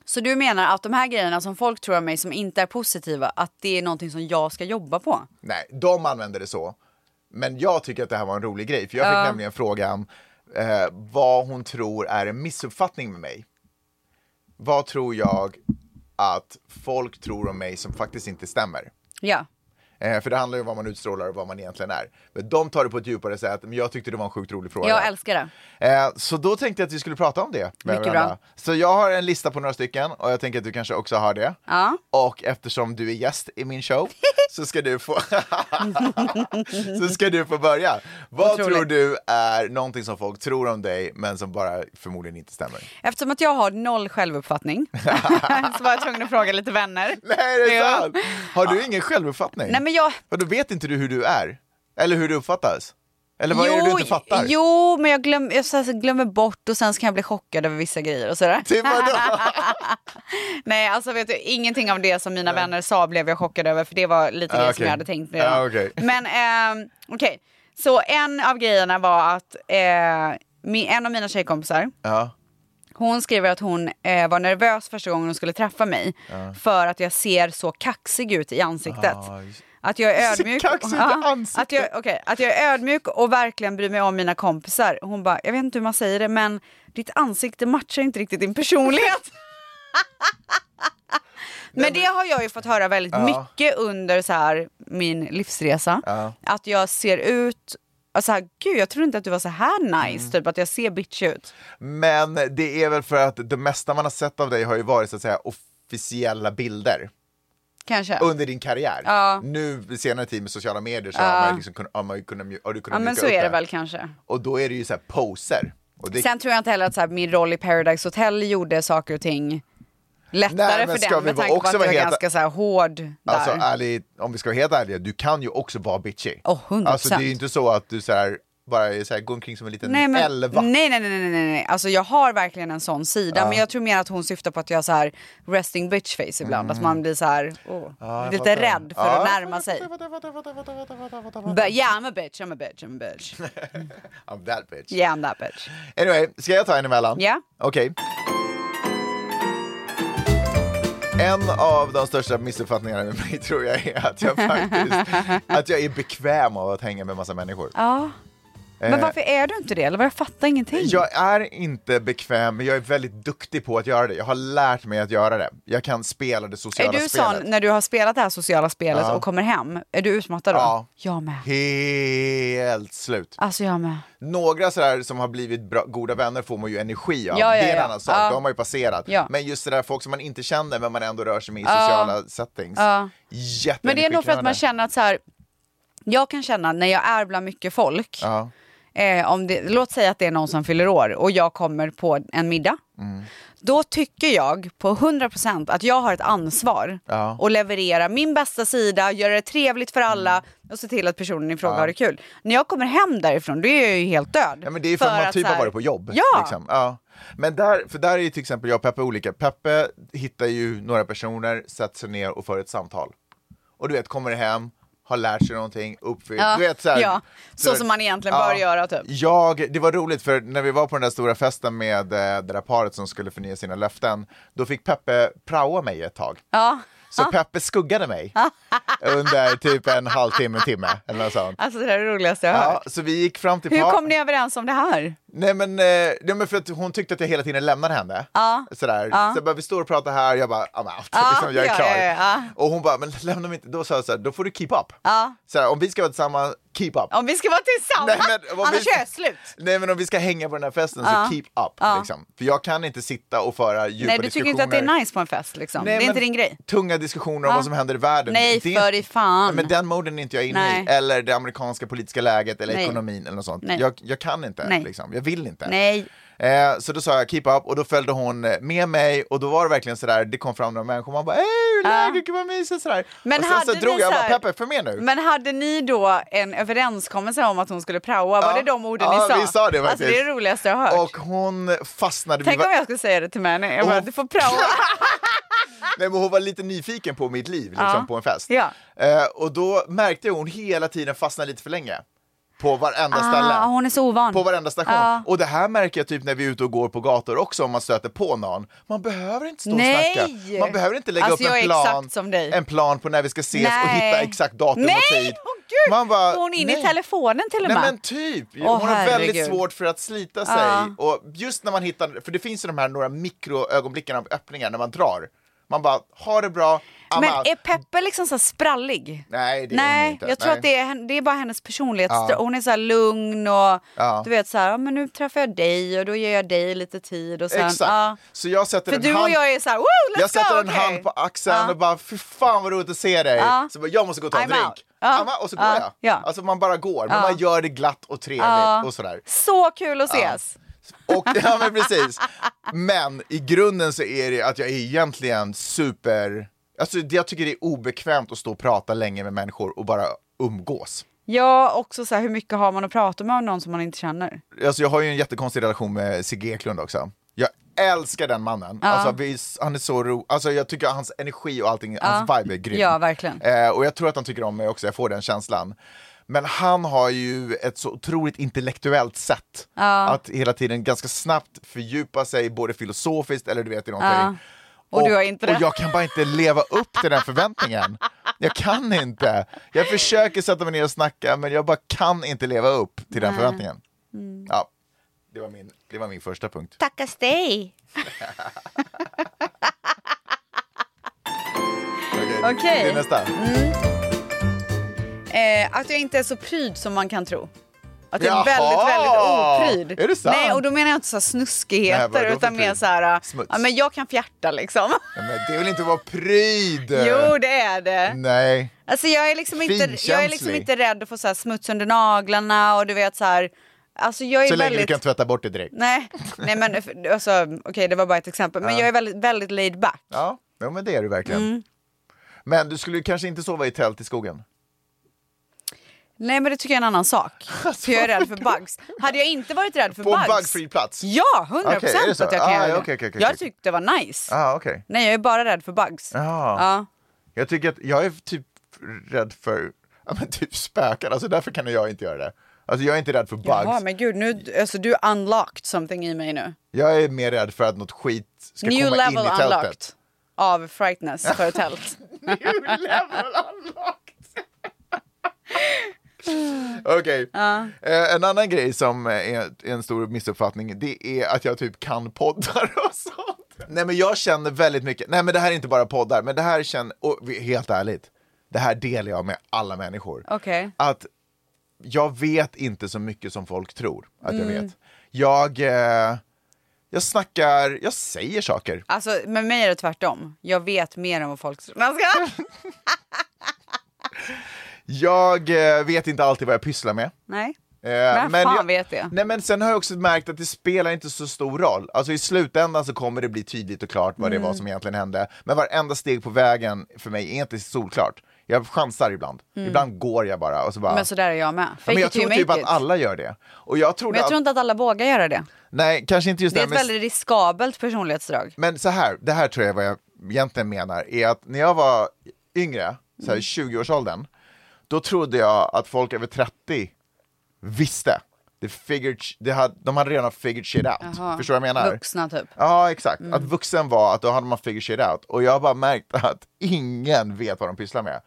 Speaker 2: Så du menar att de här grejerna som folk tror om mig som inte är positiva, att det är någonting som jag ska jobba på?
Speaker 1: Nej, de använder det så. Men jag tycker att det här var en rolig grej, för jag fick nämligen frågan eh, vad hon tror är en missuppfattning med mig. Vad tror jag att folk tror om mig som faktiskt inte stämmer?
Speaker 2: Ja.
Speaker 1: Eh, för det handlar ju om vad man utstrålar och vad man egentligen är. Men de tar det på ett djupare sätt, men jag tyckte det var en sjukt rolig fråga.
Speaker 2: Jag älskar det.
Speaker 1: Eh, så då tänkte jag att vi skulle prata om det. Med
Speaker 2: Mycket
Speaker 1: varandra.
Speaker 2: bra.
Speaker 1: Så jag har en lista på några stycken och jag tänker att du kanske också har det.
Speaker 2: Ja.
Speaker 1: Och eftersom du är gäst i min show så ska du få, så ska du få börja. Vad
Speaker 2: Otroligt.
Speaker 1: tror du är någonting som folk tror om dig men som bara förmodligen inte stämmer?
Speaker 2: Eftersom att jag har noll självuppfattning så var jag tvungen att fråga lite vänner.
Speaker 1: Nej, det är
Speaker 2: Ja.
Speaker 1: sant! Har du ingen självuppfattning?
Speaker 2: Nej men jag...
Speaker 1: Och då vet inte du hur du är? Eller hur du uppfattas? Eller vad är det du inte fattar?
Speaker 2: Jo, men jag, glöm, jag så här, så glömmer bort och sen så kan jag bli chockad över vissa grejer och sådär.
Speaker 1: Typ vadå?
Speaker 2: Nej, alltså vet du, ingenting av det som mina vänner sa blev jag chockad över för det var lite
Speaker 1: Ah,
Speaker 2: det som
Speaker 1: okej.
Speaker 2: jag hade tänkt mig.
Speaker 1: Ah, okej.
Speaker 2: Men ehm, okej, så en av grejerna var att eh, min, en av mina tjejkompisar,
Speaker 1: ja.
Speaker 2: hon skriver att hon eh, var nervös första gången hon skulle träffa mig för att jag ser så kaxig ut i ansiktet.
Speaker 1: Ah, just-
Speaker 2: Att jag är
Speaker 1: Så
Speaker 2: ödmjuk.
Speaker 1: kaxigt i
Speaker 2: Ja,
Speaker 1: ansiktet.
Speaker 2: Att jag, okej, att jag är ödmjuk och verkligen bryr mig om mina kompisar. Hon bara, jag vet inte hur man säger det men ditt ansikte matchar inte riktigt din personlighet. Men det har jag ju fått höra väldigt mycket under så här, min livsresa.
Speaker 1: Ja.
Speaker 2: Att jag ser ut, alltså, här, gud jag trodde inte att du var så här nice,
Speaker 1: Mm.
Speaker 2: typ att jag ser bitch ut.
Speaker 1: Men det är väl för att det mesta man har sett av dig har ju varit så att säga officiella bilder.
Speaker 2: Kanske.
Speaker 1: Under din karriär.
Speaker 2: Ja.
Speaker 1: Nu senare tid med sociala medier så
Speaker 2: Ja.
Speaker 1: har, man ju liksom, kunnat- har, man ju kunnat, mju- har du kunnat
Speaker 2: ja men
Speaker 1: mjuka
Speaker 2: så
Speaker 1: upp
Speaker 2: är det väl kanske.
Speaker 1: Och då är det ju så här poser. Och det,
Speaker 2: Sen tror jag inte heller att så här, min roll i Paradise Hotel gjorde saker och ting
Speaker 1: Nej,
Speaker 2: lättare
Speaker 1: men
Speaker 2: för
Speaker 1: ska
Speaker 2: den
Speaker 1: vi
Speaker 2: med
Speaker 1: vara-
Speaker 2: tanke på
Speaker 1: också
Speaker 2: att jag
Speaker 1: vara
Speaker 2: var
Speaker 1: helt-
Speaker 2: ganska så här, hård där.
Speaker 1: alltså ärligt, om vi ska vara helt ärliga, du kan ju också vara bitchy.
Speaker 2: Åh, 100%.
Speaker 1: Alltså det är ju inte så att du så här, bara är så här, går omkring som en liten
Speaker 2: nej, men,
Speaker 1: elva.
Speaker 2: Nej, nej, nej, nej, nej, nej. Alltså jag har verkligen en sån sida. Men jag tror mer att hon syftar på att jag har så här resting bitch face ibland. Att man blir så här, åh,
Speaker 1: jag
Speaker 2: lite
Speaker 1: fattar.
Speaker 2: rädd för
Speaker 1: Mm. Ja.
Speaker 2: att närma sig. But yeah, I'm a bitch, I'm a bitch, I'm a bitch.
Speaker 1: I'm that bitch.
Speaker 2: Yeah, I'm that bitch.
Speaker 1: Anyway, ska jag ta en emellan?
Speaker 2: Ja.
Speaker 1: Okej. En av de största missuppfattningarna med mig tror jag är att jag faktiskt att jag är bekväm av att hänga med massa människor.
Speaker 2: Ja. Men
Speaker 1: Eh,
Speaker 2: varför är du inte det? Eller vad jag fattar ingenting.
Speaker 1: Jag är inte bekväm, men jag är väldigt duktig på att göra det. Jag har lärt mig att göra det. Jag kan spela det
Speaker 2: är
Speaker 1: sociala
Speaker 2: du
Speaker 1: spelet.
Speaker 2: sån när du har spelat det här sociala spelet och kommer hem, är du utmattad då?
Speaker 1: Ja.
Speaker 2: Jag med.
Speaker 1: Helt slut.
Speaker 2: Alltså jag med.
Speaker 1: Några sådär som har blivit bra, goda vänner får man ju energi av.
Speaker 2: Ja, ja,
Speaker 1: det är en
Speaker 2: ja.
Speaker 1: annan sak,
Speaker 2: Ja.
Speaker 1: de har man ju passerat.
Speaker 2: Ja.
Speaker 1: Men just det där folk som man inte känner men man ändå rör sig med i sociala settings.
Speaker 2: Ja.
Speaker 1: Jätteenergikrävande.
Speaker 2: Men det är nog för att man känner att så här, jag kan känna när jag är bland mycket folk,
Speaker 1: Ja.
Speaker 2: eh, om det, låt säga att det är någon som fyller år och jag kommer på en middag.
Speaker 1: Mm.
Speaker 2: Då tycker jag på 100% att jag har ett ansvar
Speaker 1: Ja.
Speaker 2: att leverera min bästa sida, göra det trevligt för alla
Speaker 1: Mm.
Speaker 2: och se till att personen i fråga har det kul. När jag kommer hem därifrån då är jag ju helt död.
Speaker 1: Ja, men det är för, att man
Speaker 2: att
Speaker 1: typ
Speaker 2: så här-
Speaker 1: har varit på jobb.
Speaker 2: Ja,
Speaker 1: Liksom. ja. Men där, för där är ju till exempel jag och Peppe olika. Peppe hittar ju några personer, sätter sig ner och för ett samtal. Och du vet, kommer hem, har lärt sig någonting, uppfyllt.
Speaker 2: Ja,
Speaker 1: Du vet, så, här,
Speaker 2: ja. Så som man egentligen bör göra, typ.
Speaker 1: Jag, det var roligt för när vi var på den där stora festen med eh, det där paret som skulle förnya sina löften, då fick Peppe praoa mig ett tag.
Speaker 2: ja.
Speaker 1: Så Peppe skuggade mig under typ en halvtimme, en timme eller något sånt.
Speaker 2: Alltså det här är det roligaste jag har
Speaker 1: Ja,
Speaker 2: hört.
Speaker 1: så vi gick fram till
Speaker 2: Hur
Speaker 1: par-
Speaker 2: kom ni överens om det här?
Speaker 1: Nej men, eh, nej men för att hon tyckte att jag hela tiden lämnade henne. Sådär. Så jag bara, vi står och pratar här, jag bara, I'm out. liksom, jag är
Speaker 2: ja,
Speaker 1: klar.
Speaker 2: ja, ja, ja.
Speaker 1: Och hon bara, men lämna mig inte. Då sa jag såhär, då får du keep up.
Speaker 2: Ja.
Speaker 1: Såhär, om vi ska vara tillsammans, keep up.
Speaker 2: Om vi ska vara tillsammans,
Speaker 1: Nej, men om
Speaker 2: annars
Speaker 1: vi-
Speaker 2: är jag slut.
Speaker 1: Nej men om vi ska hänga på den här festen så keep up. Liksom. För jag kan inte sitta och föra djupa
Speaker 2: Nej, du
Speaker 1: diskussioner.
Speaker 2: tycker inte att det är nice på en fest liksom.
Speaker 1: Nej,
Speaker 2: det är inte
Speaker 1: men
Speaker 2: din grej.
Speaker 1: Tunga diskussioner om
Speaker 2: Ja.
Speaker 1: vad som händer i världen.
Speaker 2: Nej,
Speaker 1: det,
Speaker 2: för i fan.
Speaker 1: Men den moden är inte jag inne
Speaker 2: Nej.
Speaker 1: i. Eller det amerikanska politiska läget eller
Speaker 2: Nej.
Speaker 1: ekonomin eller något sånt.
Speaker 2: Nej.
Speaker 1: Jag, jag kan inte,
Speaker 2: Nej.
Speaker 1: liksom. jag vill inte.
Speaker 2: Nej.
Speaker 1: Eh, så då sa jag keep up och då följde hon eh, med mig och då var det verkligen sådär, det kom fram några människor och man bara hej hur är läget, gud vad mysigt sådär.
Speaker 2: Men
Speaker 1: och sen så
Speaker 2: hade
Speaker 1: drog
Speaker 2: ni
Speaker 1: jag, jag
Speaker 2: så här-
Speaker 1: bara Peppe för med nu.
Speaker 2: Men hade ni då en överenskommelse om att hon skulle praoa? Var
Speaker 1: Ja.
Speaker 2: det de orden
Speaker 1: ja,
Speaker 2: ni sa?
Speaker 1: vi sa det faktiskt.
Speaker 2: Alltså det är det roligaste jag har hört.
Speaker 1: Och hon fastnade.
Speaker 2: Tänk
Speaker 1: var-
Speaker 2: om jag skulle säga det till Mani. Jag bara,
Speaker 1: Och-
Speaker 2: du får praoa.
Speaker 1: Nej, men hon var lite nyfiken på mitt liv liksom,
Speaker 2: Ja.
Speaker 1: på en fest.
Speaker 2: Ja.
Speaker 1: Eh, och då märkte jag hon hela tiden fastnade lite för länge. På varenda ställe.
Speaker 2: Ah, hon är så ovan.
Speaker 1: På varenda station.
Speaker 2: Ja.
Speaker 1: Och det här märker jag typ när vi är ute och går på gator också om man stöter på någon. Man behöver inte stå
Speaker 2: Nej!
Speaker 1: och snacka. Man behöver inte lägga
Speaker 2: Alltså,
Speaker 1: upp
Speaker 2: jag
Speaker 1: en
Speaker 2: är
Speaker 1: plan,
Speaker 2: exakt som dig.
Speaker 1: en plan på när vi ska ses och
Speaker 2: Nej.
Speaker 1: hitta exakt datum
Speaker 2: nej!
Speaker 1: och tid.
Speaker 2: Åh, gud!
Speaker 1: Man bara,
Speaker 2: Går hon in i
Speaker 1: nej.
Speaker 2: telefonen till och
Speaker 1: Nej
Speaker 2: med?
Speaker 1: men typ!
Speaker 2: Åh,
Speaker 1: hon har väldigt
Speaker 2: herregud.
Speaker 1: svårt för att slita sig. Och just när man hittar, för det finns ju de här några mikroögonblicken av öppningar när man drar. Man bara, ha det bra, I'm
Speaker 2: Men
Speaker 1: out.
Speaker 2: är Peppe liksom så här sprallig?
Speaker 1: Nej, det är
Speaker 2: Nej,
Speaker 1: hon inte.
Speaker 2: jag tror
Speaker 1: Nej.
Speaker 2: att det är, hen- det är bara hennes personlighet.
Speaker 1: Ja.
Speaker 2: Hon är så här lugn och
Speaker 1: Ja.
Speaker 2: du vet så här, ja, men nu träffar jag dig och då ger jag dig lite tid och sen,
Speaker 1: Exakt!
Speaker 2: ja.
Speaker 1: Så jag sätter
Speaker 2: För
Speaker 1: en
Speaker 2: du
Speaker 1: hand...
Speaker 2: och jag är så här, woo, let's
Speaker 1: jag sätter
Speaker 2: go,
Speaker 1: en
Speaker 2: okej."
Speaker 1: hand på axeln
Speaker 2: Ja.
Speaker 1: och bara, fy fan vad roligt att se dig!
Speaker 2: Ja.
Speaker 1: Så bara, jag måste gå och ta en
Speaker 2: I'm
Speaker 1: drink.
Speaker 2: out. Ja.
Speaker 1: Amma, och så går
Speaker 2: Ja.
Speaker 1: jag.
Speaker 2: Ja.
Speaker 1: Alltså man bara går, men
Speaker 2: Ja.
Speaker 1: man gör det glatt och trevligt
Speaker 2: Ja.
Speaker 1: och sådär.
Speaker 2: Så kul att ses!
Speaker 1: Och, ja men precis. Men i grunden så är det att jag är egentligen super... Alltså det- jag tycker det är obekvämt att stå och prata länge med människor och bara umgås.
Speaker 2: Ja, också så här, hur mycket har man att prata med om någon som man inte känner?
Speaker 1: Alltså jag har ju en jättekonstig relation med Sigge Eklund också. Jag älskar den mannen. Alltså, vi, han är så ro... Alltså jag tycker hans energi och allting, hans vibe är grym.
Speaker 2: Ja, verkligen.
Speaker 1: Eh, och jag tror att han tycker om mig också, jag får den känslan. Men han har ju ett så otroligt intellektuellt sätt att hela tiden ganska snabbt fördjupa sig både filosofiskt eller du vet i någonting.
Speaker 2: Och du har inte det.
Speaker 1: och jag kan bara inte leva upp till den förväntningen. Jag kan inte. Jag försöker sätta mig ner och snacka men jag bara kan inte leva upp till den förväntningen.
Speaker 2: Mm.
Speaker 1: Ja, det var min, det var min första punkt.
Speaker 2: Tackas dig!
Speaker 1: Okej,
Speaker 2: Okej.
Speaker 1: Det är nästa.
Speaker 2: Eh, att jag inte är så pryd som man kan tro. Att det är
Speaker 1: Jaha!
Speaker 2: väldigt, väldigt opryd.
Speaker 1: Är det sant?
Speaker 2: Nej, och då menar jag inte så här
Speaker 1: Nej,
Speaker 2: snuskigheter
Speaker 1: vad är det då
Speaker 2: utan
Speaker 1: för
Speaker 2: mer
Speaker 1: pryd?
Speaker 2: så här,
Speaker 1: Smuts.
Speaker 2: ja men jag kan fjärta liksom.
Speaker 1: Ja, men det vill inte vara pryd!
Speaker 2: Jo, det är det.
Speaker 1: Nej.
Speaker 2: Alltså jag är liksom inte, jag är liksom
Speaker 1: Finkänslig.
Speaker 2: inte rädd att få så här smuts under naglarna och du vet så här, alltså jag är
Speaker 1: Så länge
Speaker 2: väldigt...
Speaker 1: du kan tvätta bort det direkt.
Speaker 2: Nej, nej men alltså, okej det var bara ett exempel. Men jag är väldigt, väldigt laid back.
Speaker 1: Ja, ja men det är du verkligen.
Speaker 2: Mm.
Speaker 1: Men du skulle ju kanske inte sova i tält i skogen?
Speaker 2: Nej men det tycker jag är en annan sak. För jag är rädd för bugs. Hade jag inte varit rädd för
Speaker 1: På en
Speaker 2: bugs.
Speaker 1: bugfri plats?
Speaker 2: Ja, 100%
Speaker 1: Okej, är det så?
Speaker 2: att jag kan
Speaker 1: Ah,
Speaker 2: göra
Speaker 1: ja,
Speaker 2: det.
Speaker 1: okej, okej, okej,
Speaker 2: jag
Speaker 1: okej.
Speaker 2: tyckte det var nice.
Speaker 1: Ah, okej.
Speaker 2: Nej jag är bara rädd för bugs.
Speaker 1: Ja.
Speaker 2: Ja.
Speaker 1: Jag tycker att jag är typ rädd för ja, men typ spöken, alltså därför kan jag inte göra det. Alltså jag är inte rädd för bugs.
Speaker 2: Jaha men gud, nu, alltså, du unlocked something i mig nu.
Speaker 1: Jag är mer rädd för att något skit ska
Speaker 2: New
Speaker 1: komma in i
Speaker 2: level
Speaker 1: tältet.
Speaker 2: unlocked. Av frightness för ett tält.
Speaker 1: Okej. Eh, en annan grej som är en stor missuppfattning, det är att jag typ kan poddar och sånt. Nej men jag känner väldigt mycket, nej men det här är inte bara poddar, men det här känner, och vi- helt ärligt, det här delar jag med alla människor.
Speaker 2: Okej.
Speaker 1: Att jag vet inte så mycket som folk tror att
Speaker 2: Mm.
Speaker 1: jag vet. Jag, eh, jag snackar, jag säger saker.
Speaker 2: Alltså med mig är det tvärtom. Jag vet mer än vad folk tror. Man ska-
Speaker 1: Jag eh, vet inte alltid vad jag pysslar med.
Speaker 2: Nej.
Speaker 1: Eh,
Speaker 2: Vem fan
Speaker 1: jag,
Speaker 2: vet det?
Speaker 1: Nej, men sen har jag också märkt att det spelar inte så stor roll. Alltså i slutändan så kommer det bli tydligt och klart vad det
Speaker 2: Mm.
Speaker 1: var som egentligen hände. Men varenda steg på vägen för mig är inte solklart. Jag chansar ibland. Ibland går jag bara och så bara...
Speaker 2: Mm. Men alltså, så där är jag med. Fake
Speaker 1: Ja, men jag
Speaker 2: it till
Speaker 1: tror
Speaker 2: you
Speaker 1: typ
Speaker 2: make
Speaker 1: att
Speaker 2: it.
Speaker 1: alla gör det. Och jag trodde
Speaker 2: Men jag tror
Speaker 1: att...
Speaker 2: inte att alla vågar göra det.
Speaker 1: Nej, kanske inte just
Speaker 2: Det är
Speaker 1: det.
Speaker 2: ett
Speaker 1: men-
Speaker 2: väldigt riskabelt personlighetsdrag.
Speaker 1: Men så här, det här tror jag vad jag egentligen menar är att när jag var yngre, så här i 20-årsåldern, då trodde jag att folk över 30 visste. Det figured, det hade, de hade redan figured shit out. Förstår du vad jag menar?
Speaker 2: Vuxna typ.
Speaker 1: Ja, exakt. Att vuxen var att då hade man figured shit out. Och jag har bara märkt att ingen vet vad de pysslar med.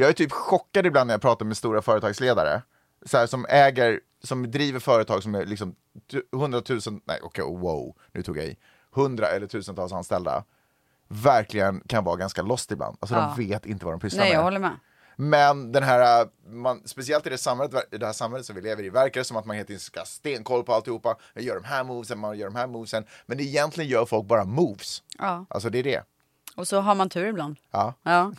Speaker 1: Jag är typ chockad ibland när jag pratar med stora företagsledare. Så här, som äger, som driver företag som är liksom tu- hundratusen, nej okej, wow, nu tog jag i. Hundra eller tusentals anställda. Verkligen kan vara ganska lost ibland. Alltså de vet inte vad de pysslar
Speaker 2: Nej,
Speaker 1: med.
Speaker 2: jag håller med.
Speaker 1: Men den här, äh, man, speciellt i det, samhället, i det här samhället som vi lever i, verkar det som att man helt enkelt ska ha stenkoll på alltihopa. Man gör de här movesen, man gör de här movesen. Men egentligen gör folk bara moves.
Speaker 2: Ja.
Speaker 1: Alltså det är det.
Speaker 2: Och så har man tur ibland.
Speaker 1: Ja.
Speaker 2: Ja.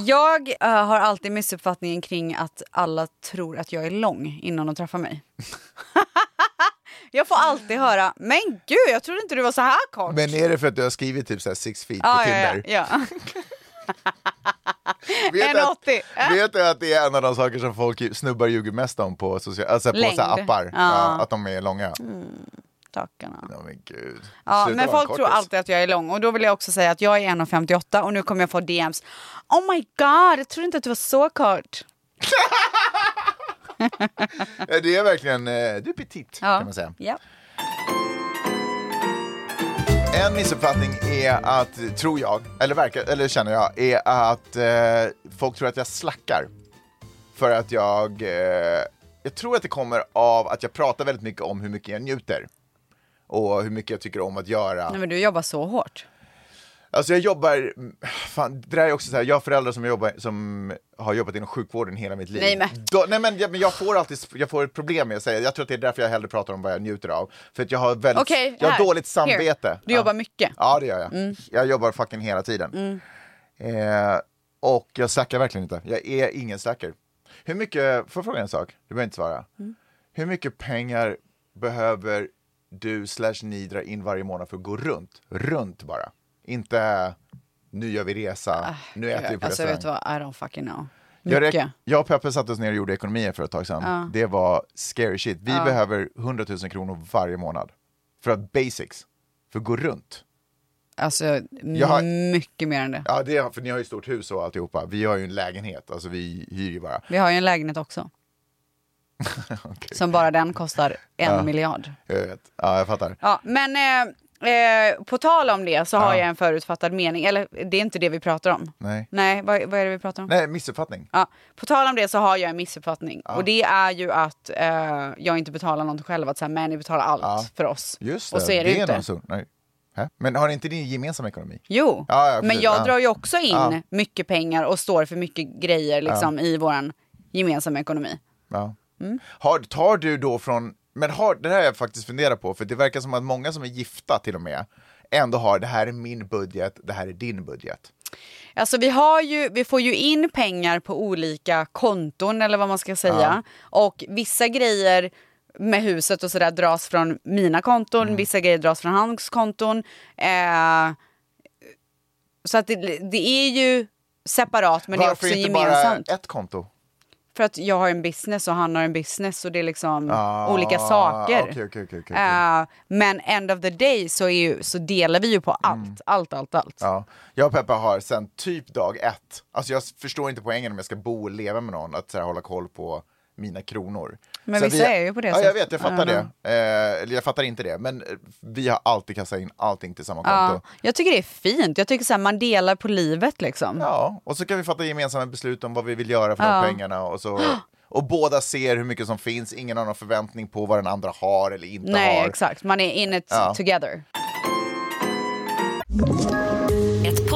Speaker 2: Jag eh, har alltid missuppfattningen kring att alla tror att jag är lång innan de träffar mig. jag får alltid höra, men gud jag trodde inte du var så här kort.
Speaker 1: Men är det för att du har skrivit typ så här six feet på
Speaker 2: ja, ja,
Speaker 1: Tinder?
Speaker 2: ja, ja.
Speaker 1: Vet, du att,
Speaker 2: 1,80.
Speaker 1: vet du att det är en av de saker som folk ju- snubbar ljuger mest om på, social, alltså på så här
Speaker 2: Längd.
Speaker 1: appar?
Speaker 2: Ja.
Speaker 1: Ja, att de är långa.
Speaker 2: Tackarna.
Speaker 1: Ja, men gud.
Speaker 2: Ja,
Speaker 1: Sluta
Speaker 2: men
Speaker 1: vara en
Speaker 2: folk tror
Speaker 1: kortis.
Speaker 2: alltid att jag är lång och då vill jag också säga att jag är 1,58 och nu kommer jag få DMs. Oh my god, jag trodde inte att du var så kort.
Speaker 1: Ja, Det är verkligen, eh, du är petit
Speaker 2: Ja.
Speaker 1: kan man säga.
Speaker 2: Ja.
Speaker 1: En missuppfattning är att, tror jag, eller, verkar, eller känner jag, är att eh, folk tror att jag slackar. För att jag, eh, jag tror att det kommer av att jag pratar väldigt mycket om hur mycket jag njuter. Och hur mycket jag tycker om att göra.
Speaker 2: Nej, men du jobbar så hårt.
Speaker 1: Alltså jag jobbar, fan, det där är också så här, jag har föräldrar som, jobbar, som har jobbat inom sjukvården hela mitt liv.
Speaker 2: Nej, men-
Speaker 1: Då, nej men, jag, men jag får alltid, jag får ett problem med att säga, jag tror att det är därför jag hellre pratar om vad jag njuter av. För att jag har väldigt,
Speaker 2: Okej,
Speaker 1: jag
Speaker 2: här.
Speaker 1: har dåligt samvete.
Speaker 2: Here. Du
Speaker 1: Ja.
Speaker 2: jobbar mycket. Mm.
Speaker 1: Ja, det gör jag. Jag jobbar fucking hela tiden. Eh, och jag slackar verkligen inte. Jag är ingen slacker. Hur mycket, får jag fråga en sak? Du behöver inte svara.
Speaker 2: Mm.
Speaker 1: Hur mycket pengar behöver du slash ni dra in varje månad för att gå runt? Runt bara. Inte nu gör vi resa, nu äter vi på
Speaker 2: Ah, alltså, vet du
Speaker 1: restaurang.
Speaker 2: vad? I don't fucking know.
Speaker 1: Jag,
Speaker 2: Mycket.
Speaker 1: räk- jag och Peppe satte oss ner och gjorde ekonomier för ett tag sedan. Det var scary shit. Vi behöver 100 000 kronor varje månad. För att basics, för att gå runt.
Speaker 2: Alltså,
Speaker 1: har-
Speaker 2: mycket mer än det.
Speaker 1: Ja, det är, för ni har ju stort hus och alltihopa. Vi har ju en lägenhet, alltså vi hyr ju bara.
Speaker 2: Vi har ju en lägenhet också. Som bara den kostar en miljard.
Speaker 1: Jag vet. Ja, jag fattar.
Speaker 2: Ja, men eh, eh, på tal om det så har jag en förutfattad mening. Eller det är inte det vi pratar om.
Speaker 1: Nej.
Speaker 2: Nej, vad, vad är det vi pratar om?
Speaker 1: Nej, missuppfattning.
Speaker 2: Ja, på tal om det så har jag en missuppfattning. Och det är ju att eh, jag inte betalar något själv. Att så här, men ni betalar allt för oss.
Speaker 1: Just det,
Speaker 2: och så är det, ju
Speaker 1: är
Speaker 2: inte.
Speaker 1: någon sån- Nej. Hä? Men har inte ni gemensam ekonomi?
Speaker 2: Jo,
Speaker 1: Ja, ja, precis.
Speaker 2: men jag
Speaker 1: Ja.
Speaker 2: drar ju också in mycket pengar och står för mycket grejer liksom, i vår gemensamma ekonomi.
Speaker 1: Ja. Har, tar du då från, men har, det här har jag faktiskt funderat på, för det verkar som att många som är gifta till och med, ändå har det här är min budget, det här är din budget.
Speaker 2: Alltså vi, har ju, vi får ju in pengar på olika konton eller vad man ska säga. Och vissa grejer med huset och sådär dras från mina konton,
Speaker 1: Mm.
Speaker 2: vissa grejer dras från hans konton. Eh, så att det, det är ju separat men
Speaker 1: Varför
Speaker 2: det är också
Speaker 1: inte
Speaker 2: gemensamt.
Speaker 1: bara ett konto?
Speaker 2: För att jag har en business och han har en business och det är liksom
Speaker 1: Ah,
Speaker 2: olika saker.
Speaker 1: okej, okej, okej, okej.
Speaker 2: Eh, men end of the day så, är ju, så delar vi ju på allt, allt, allt, allt.
Speaker 1: Mm. Ja. Jag och Peppa har sen typ dag ett, alltså jag förstår inte poängen om jag ska bo och leva med någon, att så här, hålla koll på mina kronor.
Speaker 2: Men
Speaker 1: så
Speaker 2: vissa är ju på det
Speaker 1: Ja, jag
Speaker 2: sättet.
Speaker 1: vet, jag
Speaker 2: I
Speaker 1: fattar
Speaker 2: don't
Speaker 1: det. Eh, eller jag fattar inte det, men eh, vi har alltid kassat in allting till samma
Speaker 2: Ja,
Speaker 1: konto.
Speaker 2: jag tycker det är fint. Jag tycker så här, man delar på livet liksom.
Speaker 1: Ja, och så kan vi fatta gemensamma beslut om vad vi vill göra för de pengarna och så och båda ser hur mycket som finns, ingen har någon förväntning på vad den andra har eller inte
Speaker 2: Nej,
Speaker 1: har.
Speaker 2: exakt. Man är in it
Speaker 1: Ja.
Speaker 2: together.
Speaker 4: Ett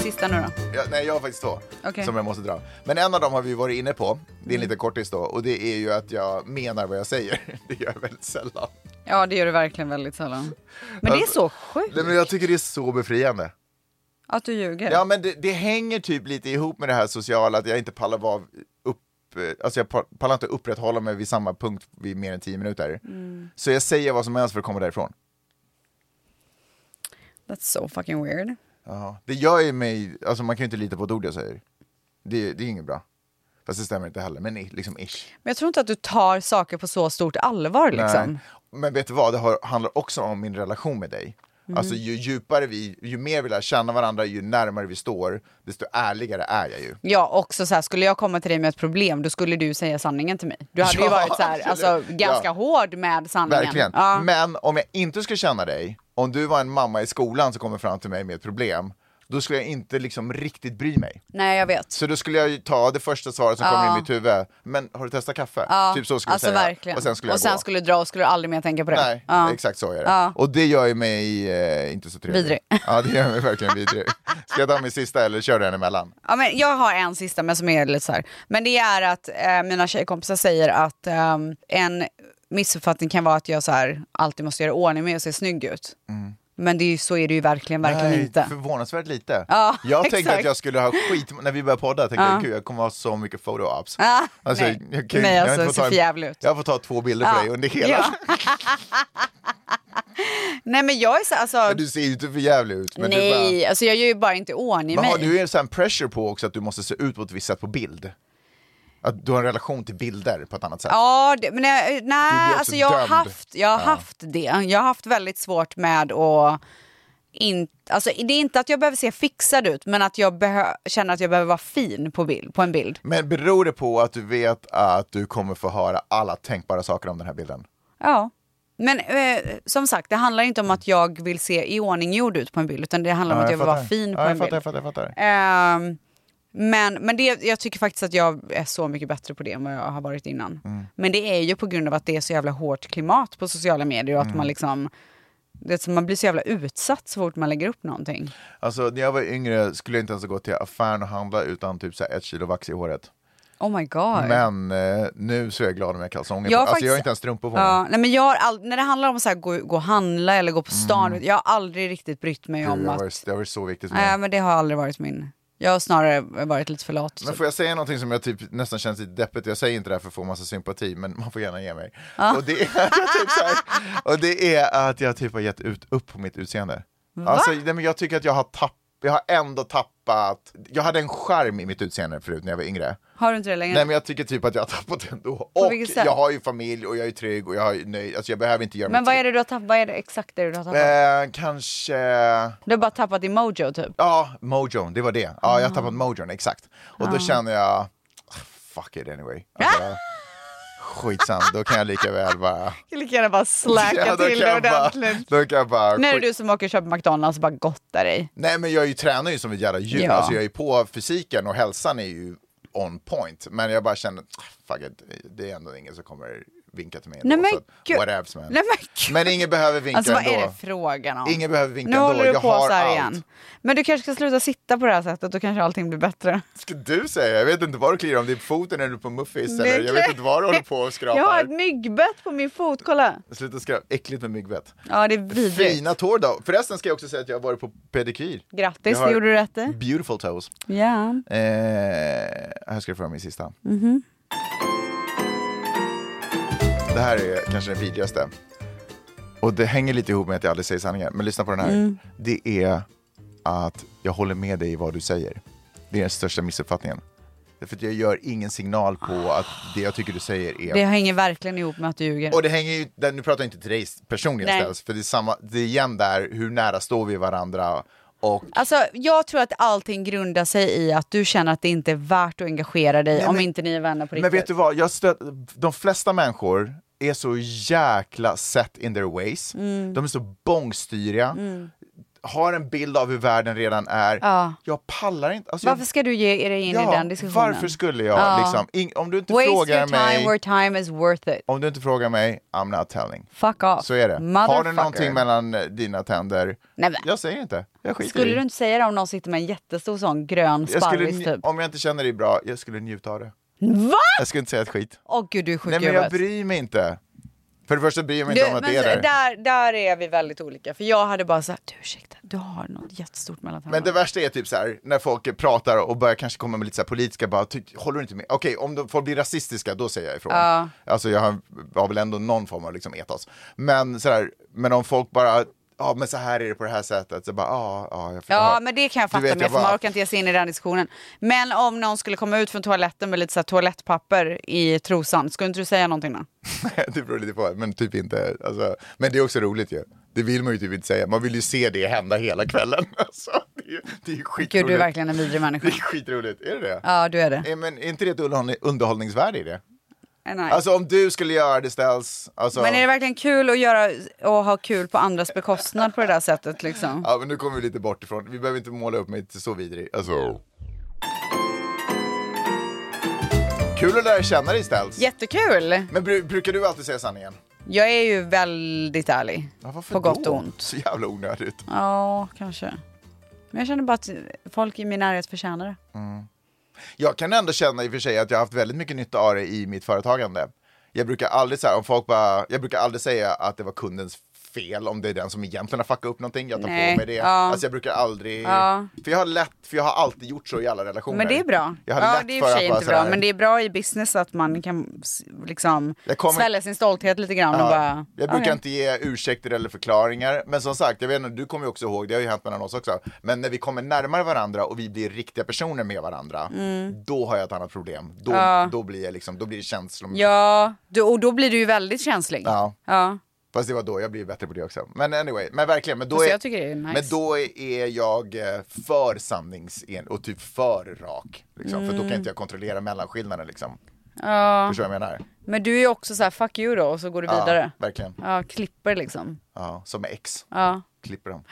Speaker 2: Sista nu då.
Speaker 1: Ja, nej, jag har faktiskt två
Speaker 2: Okej.
Speaker 1: som jag måste dra. Men en av dem har vi varit inne på, det är en liten kortis då, och det är ju att jag menar vad jag säger. Det gör jag väldigt sällan.
Speaker 2: Ja, det gör du verkligen väldigt sällan. Men det är så sjukt
Speaker 1: Nej, men jag tycker det är så befriande.
Speaker 2: att du ljuger.
Speaker 1: Ja, men det, det hänger typ lite ihop med det här sociala, att jag inte pallar vara upp, eh, alltså jag pa- pallar inte upprätthålla mig vid samma punkt vid mer än tio minuter. Så jag säger vad som helst för att komma därifrån.
Speaker 2: That's so fucking weird.
Speaker 1: Ja, det gör ju mig, alltså man kan ju inte lita på ett ord jag säger. Det, det är inget bra. Fast det stämmer inte heller, men i- liksom ish.
Speaker 2: Men jag tror inte att du tar saker på så stort allvar liksom.
Speaker 1: Nej. Men vet du vad, det har, handlar också om min relation med dig.
Speaker 2: Mm.
Speaker 1: Alltså ju djupare vi, ju mer vi lär känna varandra, ju närmare vi står, desto ärligare är jag ju.
Speaker 2: Ja, också så här, skulle jag komma till dig med ett problem då skulle du säga sanningen till mig. Du hade ju
Speaker 1: Ja,
Speaker 2: varit så här,
Speaker 1: absolut.
Speaker 2: alltså, ganska
Speaker 1: Ja.
Speaker 2: hård med sanningen.
Speaker 1: Verkligen.
Speaker 2: Ja.
Speaker 1: Men om jag inte skulle känna dig, om du var en mamma i skolan som kommer fram till mig med ett problem, då skulle jag inte liksom riktigt bry mig.
Speaker 2: Nej, jag vet.
Speaker 1: Så då skulle jag ju ta det första svaret som kommer i mitt huvud, men har du testat kaffe?
Speaker 2: Ja,
Speaker 1: Typ så skulle
Speaker 2: alltså,
Speaker 1: jag säga.
Speaker 2: Verkligen.
Speaker 1: Och sen skulle jag
Speaker 2: och sen
Speaker 1: gå.
Speaker 2: skulle du dra och skulle du aldrig mer tänka på det.
Speaker 1: Nej,
Speaker 2: Ja.
Speaker 1: exakt så är det.
Speaker 2: Ja.
Speaker 1: Och det gör ju mig eh, inte så trevlig.
Speaker 2: Vidrig.
Speaker 1: Ja, det gör mig verkligen vidrig. Ska jag ta min sista eller kör du en emellan?
Speaker 2: Ja, men jag har en sista men som är lite så här. Men det är att eh, mina tjejkompisar säger att ehm, en missuppfattning kan vara att jag så här, alltid måste göra i ordning mig och se snygg ut. Men det är ju, så är det ju verkligen, verkligen
Speaker 1: Mm. Nej,
Speaker 2: inte.
Speaker 1: Förvånansvärt lite.
Speaker 2: Ja,
Speaker 1: jag tänkte
Speaker 2: exakt.
Speaker 1: att jag skulle ha skit, när vi började podda tänkte jag gud jag kommer ha så mycket photo ops.
Speaker 2: Ah,
Speaker 1: Alltså,
Speaker 2: nej.
Speaker 1: jag kan-
Speaker 2: Nej,
Speaker 1: jag har
Speaker 2: alltså,
Speaker 1: inte fått ta
Speaker 2: ser
Speaker 1: en-
Speaker 2: för jävligt ut. Ah,
Speaker 1: Jag får ta två bilder på dig under hela.
Speaker 2: Ja. nej men jag är så alltså,
Speaker 1: Men Du ser ju inte för jävlig ut. Men
Speaker 2: nej,
Speaker 1: Du
Speaker 2: alltså jag gör ju bara inte i ordning
Speaker 1: bara, men
Speaker 2: mig.
Speaker 1: har du en sån här pressure på också att du måste se ut på ett visst sätt på bild? Att du har en relation till bilder på ett annat sätt?
Speaker 2: Ja, det, men jag, nej,
Speaker 1: också
Speaker 2: alltså jag har,
Speaker 1: dömd.
Speaker 2: haft, jag har haft det. Jag har haft väldigt svårt med att... In, alltså, det är inte att jag behöver se fixad ut, men att jag behö, känner att jag behöver vara fin på, bild, på en bild.
Speaker 1: Men beror det på att du vet att du kommer få höra alla tänkbara saker om den här bilden?
Speaker 2: Ja. Men eh, som sagt, det handlar inte om att jag vill se i ordning gjord ut på en bild, utan det handlar om
Speaker 1: Ja,
Speaker 2: att jag vill vara
Speaker 1: fattar.
Speaker 2: fin på
Speaker 1: ja, jag
Speaker 2: en
Speaker 1: fattar,
Speaker 2: bild.
Speaker 1: Jag fattar, jag fattar.
Speaker 2: Ehm, men men det, jag tycker faktiskt att jag är så mycket bättre på det än vad jag har varit innan.
Speaker 1: Mm.
Speaker 2: Men det är ju på grund av att det är så jävla hårt klimat på sociala medier och att
Speaker 1: Mm.
Speaker 2: man liksom det är som man blir så jävla utsatt så fort man lägger upp någonting.
Speaker 1: Alltså när jag var yngre skulle jag inte ens gå till affären och handla utan typ så här ett kilo vax i håret.
Speaker 2: Oh my god.
Speaker 1: Men eh, nu så är jag glad om jag har kalsonger
Speaker 2: Jag
Speaker 1: på.
Speaker 2: har
Speaker 1: Alltså jag har
Speaker 2: faktiskt-
Speaker 1: inte ens strumpor på mig.
Speaker 2: Ja, nej men jag har all, när det handlar om att gå, gå och handla eller gå på stan, jag har aldrig riktigt brytt mig
Speaker 1: Mm. Det har
Speaker 2: om att...
Speaker 1: varit- det har varit så viktigt för mig.
Speaker 2: Nej men det har aldrig varit min... Jag har snarare varit lite för lat.
Speaker 1: Men får jag säga någonting som jag typ nästan känns lite deppigt, jag säger inte det här för att få massa sympati, men man får gärna ge mig. Och, det är, typ så här, och det är att jag typ har gett ut, upp på mitt utseende. Alltså, nej, men jag tycker att jag har tappat, jag har ändå tappat, jag hade en charm i mitt utseende förut när jag var yngre.
Speaker 2: Har du inte det längre?
Speaker 1: Nej men jag tycker typ att jag har tappat det ändå.
Speaker 2: Mm. På
Speaker 1: Och
Speaker 2: vilket sätt?
Speaker 1: jag har ju familj och jag är trygg och jag är nöjd, alltså jag behöver inte göra
Speaker 2: men
Speaker 1: mitt
Speaker 2: vad är det du har tappat? Vad är det exakt det du har tappat?
Speaker 1: Eh, kanske...
Speaker 2: Du har bara tappat din mojo typ.
Speaker 1: Ja, mojon, det var det. Ja, jag har
Speaker 2: Ah.
Speaker 1: tappat mojon, exakt. Och då känner jag, "Ah, fuck it anyway. Alltså, skitsam, då kan jag lika väl bara...
Speaker 2: Jag lika gärna bara släcka
Speaker 1: Ja, då
Speaker 2: till
Speaker 1: kan
Speaker 2: det
Speaker 1: jag bara-
Speaker 2: ordentligt.
Speaker 1: Då kan jag bara...
Speaker 2: När är
Speaker 1: skit-
Speaker 2: du som åker och köper McDonalds och bara gottar dig.
Speaker 1: Nej, men jag är ju, tränar ju som ett jävla djur.
Speaker 2: Ja.
Speaker 1: Alltså, jag är ju på fysiken och hälsan är ju on point. Men jag bara känner, "Ah, fuck it, det är ändå ingen som kommer vinka till mig.
Speaker 2: Nej,
Speaker 1: ändå,
Speaker 2: men
Speaker 1: så att,
Speaker 2: gud.
Speaker 1: whatevs, man.
Speaker 2: Nej, men gud.
Speaker 1: Men ingen behöver vinka
Speaker 2: Alltså vad
Speaker 1: ändå.
Speaker 2: är det frågan om?
Speaker 1: Ingen behöver vinka
Speaker 2: nu
Speaker 1: ändå.
Speaker 2: håller du
Speaker 1: jag
Speaker 2: på
Speaker 1: har
Speaker 2: så här
Speaker 1: allt.
Speaker 2: igen. Men du kanske ska sluta sitta på det här sättet, då kanske allting blir bättre.
Speaker 1: Ska du säga? Jag vet inte vad du kliar om. Det är på foten eller på muffins.
Speaker 2: Det är
Speaker 1: Eller? Jag vet
Speaker 2: klart.
Speaker 1: inte vad du håller på och skrapar.
Speaker 2: Jag har ett myggbett på min fot, kolla.
Speaker 1: Sluta skrapa. Äckligt med myggbett.
Speaker 2: Ja, det är vidrigt.
Speaker 1: Fina tår då. Förresten ska jag också säga att jag har varit på pedikyr. Jag
Speaker 2: Grattis,
Speaker 1: har Mm.
Speaker 2: det gjorde du rätt i.
Speaker 1: Beautiful toes.
Speaker 2: Ja.
Speaker 1: Eh, här ska du få höra min sista.
Speaker 2: Mhm.
Speaker 1: Det här är kanske den vidrigaste. Och det hänger lite ihop med att jag aldrig säger sanningar. Men lyssna på den här.
Speaker 2: Mm.
Speaker 1: Det är att jag håller med dig i vad du säger. Det är den största missuppfattningen. Därför att jag gör ingen signal på att det jag tycker du säger är...
Speaker 2: Det hänger verkligen ihop med att du ljuger.
Speaker 1: Och det hänger ju, där- nu pratar jag inte till dig personligen
Speaker 2: Nej.
Speaker 1: ställs, för det är, samma, det är igen där, hur nära står vi varandra? Och
Speaker 2: Alltså, jag tror att allting grundar sig i att du känner att det inte är värt att engagera dig om
Speaker 1: men-
Speaker 2: inte ni är vänner på riktigt.
Speaker 1: Men vet du vad, jag stöt, de flesta människor är så jäkla set in their ways.
Speaker 2: Mm.
Speaker 1: De är så bångstyriga, har en bild av hur världen redan är.
Speaker 2: Ja.
Speaker 1: Jag pallar inte. Alltså,
Speaker 2: Varför ska du ge dig in
Speaker 1: jag,
Speaker 2: i den diskussionen?
Speaker 1: Varför skulle jag?
Speaker 2: Ja.
Speaker 1: Liksom, in, om du inte
Speaker 2: Waste
Speaker 1: frågar
Speaker 2: your time
Speaker 1: mig,
Speaker 2: where time is worth it.
Speaker 1: om du inte frågar mig, I'm not telling.
Speaker 2: Fuck off.
Speaker 1: Så är det. Har du
Speaker 2: Motherfucker.
Speaker 1: någonting mellan eh, dina tänder?
Speaker 2: Nej, men-
Speaker 1: Jag säger inte. Jag skiter i.
Speaker 2: Skulle du inte säga det om någon sitter med en jättestor sån grön
Speaker 1: jag skulle,
Speaker 2: sparris
Speaker 1: nj-
Speaker 2: typ?
Speaker 1: Om jag inte känner dig bra, jag skulle njuta av det.
Speaker 2: Va?
Speaker 1: Jag skulle inte säga ett skit.
Speaker 2: Åh gud, du är sjuk
Speaker 1: Nej,
Speaker 2: i
Speaker 1: men jag
Speaker 2: huvudet.
Speaker 1: bryr mig inte. För det första bryr jag mig
Speaker 2: Du,
Speaker 1: inte om att
Speaker 2: men
Speaker 1: det är där.
Speaker 2: där, där är vi väldigt olika. För jag hade bara såhär, du ursäkta, du har något jättestort mellan
Speaker 1: Men
Speaker 2: tänderna.
Speaker 1: det värsta är typ så här, när folk pratar och börjar kanske komma med lite så här politiska, bara, ty, håller du inte med? Okej, om de, folk blir rasistiska, då säger jag ifrån. Alltså jag har, har väl ändå någon form av liksom etos. Men, så här, men om folk bara, ja men så här är det på det här sättet, så bara, ja, ja, jag
Speaker 2: Ja, men det kan jag
Speaker 1: Du
Speaker 2: fatta
Speaker 1: vet,
Speaker 2: med,
Speaker 1: jag
Speaker 2: för man
Speaker 1: bara-
Speaker 2: orkar inte ge sig in i den diskussionen. Men om någon skulle komma ut från toaletten med lite så här toalettpapper i trosan, skulle inte du säga någonting då?
Speaker 1: det beror lite på, men typ inte. Alltså, men det är också roligt ju. Det vill man ju typ inte säga, man vill ju se det hända hela kvällen. Alltså, det är, ju- det är ju skitroligt.
Speaker 2: Gud, du är verkligen en vidrig
Speaker 1: Det
Speaker 2: människa.
Speaker 1: är skitroligt, är det det?
Speaker 2: Ja, du är det.
Speaker 1: Eh, Men är inte det ett underhållning- underhållningsvärde i det?
Speaker 2: Nej.
Speaker 1: Alltså om du skulle göra det ställs, alltså...
Speaker 2: Men är det verkligen kul att göra och ha kul på andras bekostnad på det där sättet liksom?
Speaker 1: Ja, men nu kommer vi lite bort ifrån. Vi behöver inte måla upp mig till så vidrig. Alltså. Kul att lära känna dig Ställs.
Speaker 2: Jättekul!
Speaker 1: Men bru- brukar du alltid säga sanningen?
Speaker 2: Jag är ju väldigt ärlig.
Speaker 1: Ja, varför
Speaker 2: på gott
Speaker 1: då?
Speaker 2: och ont.
Speaker 1: Så jävla onödigt.
Speaker 2: Ja, kanske. Men jag känner bara att folk i min närhet förtjänar det.
Speaker 1: Jag kan ändå känna i och för sig att jag har haft väldigt mycket nytta av det i mitt företagande. Jag brukar aldrig, så här, om folk bara, jag brukar aldrig säga att det var kundens fel om det är den som egentligen har fuckat upp någonting. Jag tar
Speaker 2: Nej,
Speaker 1: på mig det.
Speaker 2: ja.
Speaker 1: Alltså jag brukar aldrig,
Speaker 2: Ja.
Speaker 1: för jag har lätt, för jag har alltid gjort så i alla relationer.
Speaker 2: Men det är bra.
Speaker 1: Oh, Jag har
Speaker 2: Ja,
Speaker 1: lätt
Speaker 2: det är i och
Speaker 1: för
Speaker 2: för
Speaker 1: att
Speaker 2: sig
Speaker 1: vara
Speaker 2: inte
Speaker 1: så här-
Speaker 2: bra, men det är bra i business att man kan s- liksom
Speaker 1: Jag kommer-
Speaker 2: svälja sin stolthet lite grann och
Speaker 1: Ja,
Speaker 2: bara...
Speaker 1: jag brukar
Speaker 2: okej.
Speaker 1: inte ge ursäkter eller förklaringar, men som sagt, jag vet inte, du kommer ju också ihåg, det har ju hänt mellan oss också, men när vi kommer närmare varandra och vi blir riktiga personer med varandra,
Speaker 2: Mm.
Speaker 1: då har jag ett annat problem. Då, då blir jag liksom, då blir det känslor.
Speaker 2: Ja, du, och då blir du ju väldigt känslig.
Speaker 1: Ja.
Speaker 2: Ja.
Speaker 1: Fast det var då, jag blir bättre på det också. Men anyway, men verkligen, men då,
Speaker 2: Fast
Speaker 1: är,
Speaker 2: jag tycker det är nice.
Speaker 1: men då är jag eh, för sanningsen och typ för rak, liksom, för då kan inte jag kontrollera mellanskillnaden liksom.
Speaker 2: Mm. Ja.
Speaker 1: Förstår du vad jag menar?
Speaker 2: Men du är ju också så här, fuck you då, och så går du vidare.
Speaker 1: Ja, verkligen.
Speaker 2: Ja, klipper liksom.
Speaker 1: Ja, som ex,
Speaker 2: Ja,
Speaker 1: klipper dem.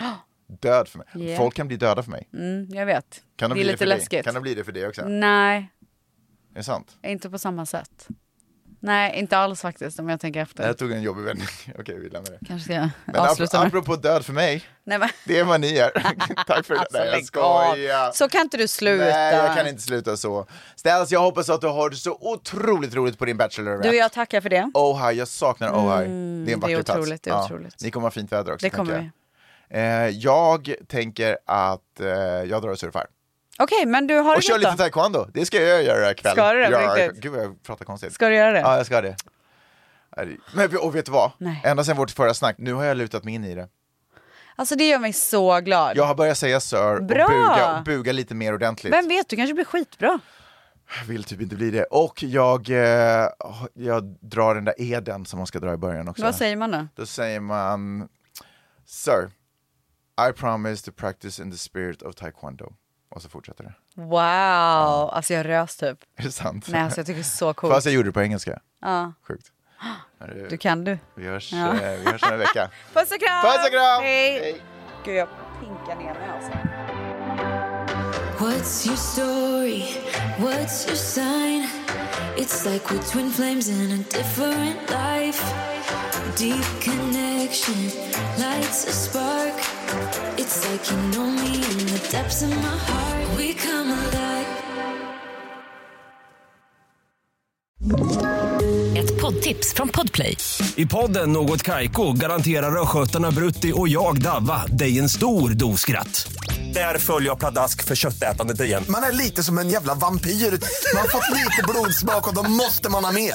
Speaker 1: Död för mig.
Speaker 2: Yeah.
Speaker 1: Folk kan bli döda för mig.
Speaker 2: mm, jag vet.
Speaker 1: Kan de
Speaker 2: det är
Speaker 1: bli
Speaker 2: lite
Speaker 1: det för Dig?
Speaker 2: läskigt. Mm.
Speaker 1: Kan de bli det för dig också?
Speaker 2: Nej,
Speaker 1: Är det sant?
Speaker 2: inte på samma sätt. Nej, inte alls faktiskt om jag tänker efter.
Speaker 1: Jag tog en jobbig vändning. Okej, vi lämnar det.
Speaker 2: Kanske ska jag
Speaker 1: Men ap-
Speaker 2: Mm. avsluta nu.
Speaker 1: apropå död för mig,
Speaker 2: Nej, men...
Speaker 1: det är vad ni är. Tack för det.
Speaker 2: Alltså,
Speaker 1: Nej, jag
Speaker 2: lägg av.
Speaker 1: skojar.
Speaker 2: Så kan inte du sluta.
Speaker 1: Nej, jag kan inte sluta så. Ställs, jag hoppas att du har det så otroligt roligt på din bachelor.
Speaker 2: Du, jag tackar för det.
Speaker 1: Ohio, jag saknar Ohio. det är en
Speaker 2: det är
Speaker 1: vacker plats.
Speaker 2: otroligt, det är otroligt.
Speaker 1: Ni kommer ha fint väder också.
Speaker 2: Det kommer
Speaker 1: tänker jag. Eh, jag tänker att eh, jag drar och surfar.
Speaker 2: Okej, men du har
Speaker 1: Och
Speaker 2: det
Speaker 1: kör
Speaker 2: gött
Speaker 1: lite
Speaker 2: då.
Speaker 1: taekwondo. Det ska jag göra ikväll.
Speaker 2: Ska du det på
Speaker 1: Ja,
Speaker 2: riktigt?
Speaker 1: Gud vad jag pratar konstigt.
Speaker 2: Ska du göra det?
Speaker 1: Ja, jag ska det. Nej, Men, och vet du vad?
Speaker 2: Nej.
Speaker 1: Ända sedan vårt förra snack, nu har jag lutat mig in i det.
Speaker 2: Alltså det gör mig så glad.
Speaker 1: Jag har börjat säga sir
Speaker 2: Bra!
Speaker 1: och buga, och buga lite mer ordentligt.
Speaker 2: Vem vet, du kanske blir skitbra.
Speaker 1: Jag vill typ inte bli det. Och jag, eh, jag drar den där eden som man ska dra i början också.
Speaker 2: Vad säger man då?
Speaker 1: Då säger man Sir, I promise to practice in the spirit of taekwondo. Och så fortsätter det.
Speaker 2: Wow, alltså jag rös typ.
Speaker 1: Är det sant?
Speaker 2: Nej, alltså jag tycker det är så coolt.
Speaker 1: Fast jag gjorde det på engelska.
Speaker 2: Ja.
Speaker 1: Sjukt. Hörru,
Speaker 2: Du kan du.
Speaker 1: Vi hörs,
Speaker 2: Ja.
Speaker 1: eh, vi hörs om en vecka.
Speaker 2: Puss och kram!
Speaker 1: Puss och kram!
Speaker 2: Hej!
Speaker 1: Hej.
Speaker 2: Gud, jag pinkar ner mig alltså.
Speaker 3: What's your story? What's your sign? It's like we're twin flames in a different life. Deep connection lights a spark. It's like you know me in the depths of my heart. We come alive.
Speaker 4: Ett poddtips från Podplay.
Speaker 5: I podden Något Kaiko garanterar östgötarna Brutti och jag, Davva, dig en stor dos skratt. Där följer jag pladask för köttätandet igen.
Speaker 6: Man är lite som en jävla vampyr. Man har fått lite blodsmak och då måste man ha mer.